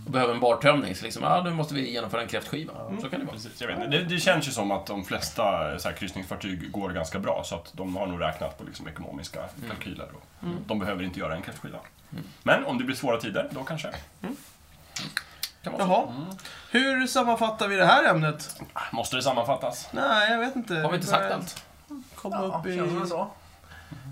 Speaker 2: och behöver en bartömning, så liksom, ja, nu måste vi genomföra en kräftskiva. Så kan det vara.
Speaker 4: Precis, jag vet inte. Det, det känns ju som att de flesta så här, kryssningsfartyg går ganska bra så att de har nog räknat på liksom, ekonomiska kalkyler. Och De behöver inte göra en kräftskiva. Men om det blir svåra tider, då kanske.
Speaker 2: Kan vara så.
Speaker 1: Jaha. Hur sammanfattar vi det här ämnet?
Speaker 4: Ah, Måste det sammanfattas?
Speaker 1: Nej, jag vet inte.
Speaker 2: Har vi inte
Speaker 1: börjar
Speaker 2: sagt allt?
Speaker 1: Komma
Speaker 3: Ja,
Speaker 1: upp i,
Speaker 3: känns det så.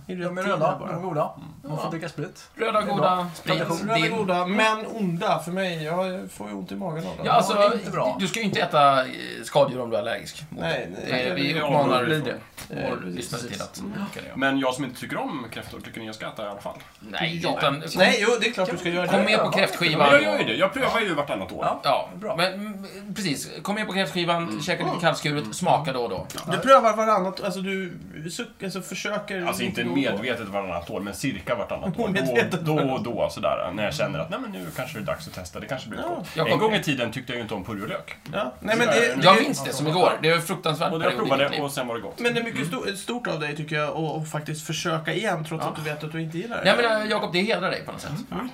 Speaker 1: i rätt
Speaker 3: De är
Speaker 1: tid
Speaker 3: röda,
Speaker 1: här
Speaker 3: de är goda. Man får dricka sprit.
Speaker 2: Röda goda, sprit,
Speaker 1: Röda
Speaker 2: dill.
Speaker 1: goda, men onda för mig. Jag får ju ont i magen av dem.
Speaker 2: Ja,
Speaker 3: det
Speaker 2: alltså,
Speaker 3: är inte bra.
Speaker 2: du ska ju inte äta eh, skadedjur om du är allergisk. mot
Speaker 1: Nej,
Speaker 2: det.
Speaker 1: nej.
Speaker 2: Eh, Vi
Speaker 4: Ja,
Speaker 2: uppmanar...
Speaker 4: då blir det.
Speaker 1: Eh,
Speaker 2: vår
Speaker 1: precis,
Speaker 2: lyssnare
Speaker 1: precis.
Speaker 2: till att åka det. ja.
Speaker 4: Men jag som inte tycker om kräftor tycker ni jag ska äta i alla fall.
Speaker 2: Nej,
Speaker 1: Ja.
Speaker 2: utan,
Speaker 1: Nej, jo, det är klart du ska göra
Speaker 2: kom
Speaker 1: det.
Speaker 2: med på kräftskivan.
Speaker 4: Jag gör ju det. Jag prövar ju vartannat år.
Speaker 3: Ja.
Speaker 2: Ja,
Speaker 3: Bra. Mm.
Speaker 2: men mm, precis. Kom med på kräftskivan, käka lite kallskuret, smaka då och då.
Speaker 1: Du prövar varannat, alltså du suck, alltså, försöker...
Speaker 4: Alltså inte
Speaker 1: då och då.
Speaker 4: medvetet varannat år, men cirka vartannat år.
Speaker 1: Omedvetet
Speaker 4: Då, då och då sådär. När jag känner att nej, men nu kanske det är dags att testa. Det kanske blir
Speaker 1: Ja.
Speaker 4: gott.
Speaker 2: Jag
Speaker 4: En
Speaker 2: kom-
Speaker 4: gång i tiden tyckte jag ju inte om purjolök.
Speaker 1: Ja. Nej, men det, det,
Speaker 2: Jag minns det som igår. Det var en fruktansvärd
Speaker 4: Och
Speaker 2: period
Speaker 4: jag
Speaker 2: i
Speaker 4: provade
Speaker 2: mitt liv.
Speaker 4: och sen var det gott.
Speaker 1: Men det är mycket sto- stort av dig tycker jag att- att faktiskt försöka igen trots att du vet att du inte gillar det.
Speaker 2: Nej men eh, Jakob, det hedrar dig på något sätt.
Speaker 3: Mm.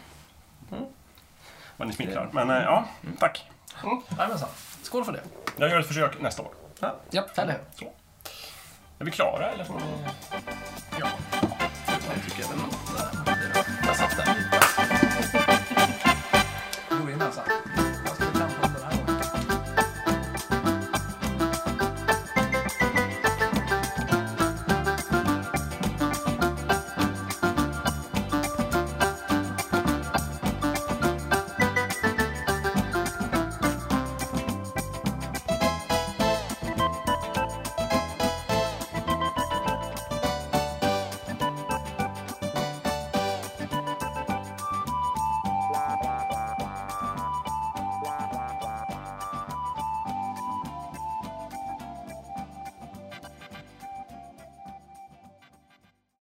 Speaker 4: Vad ni smickrar. Men eh, ja, tack.
Speaker 3: Jajamensan. Skål för det.
Speaker 4: Jag gör ett försök nästa år.
Speaker 2: Ja.
Speaker 3: Eller hur?
Speaker 4: Är vi klara eller?
Speaker 2: Jag satt där.
Speaker 3: Gå in ensam.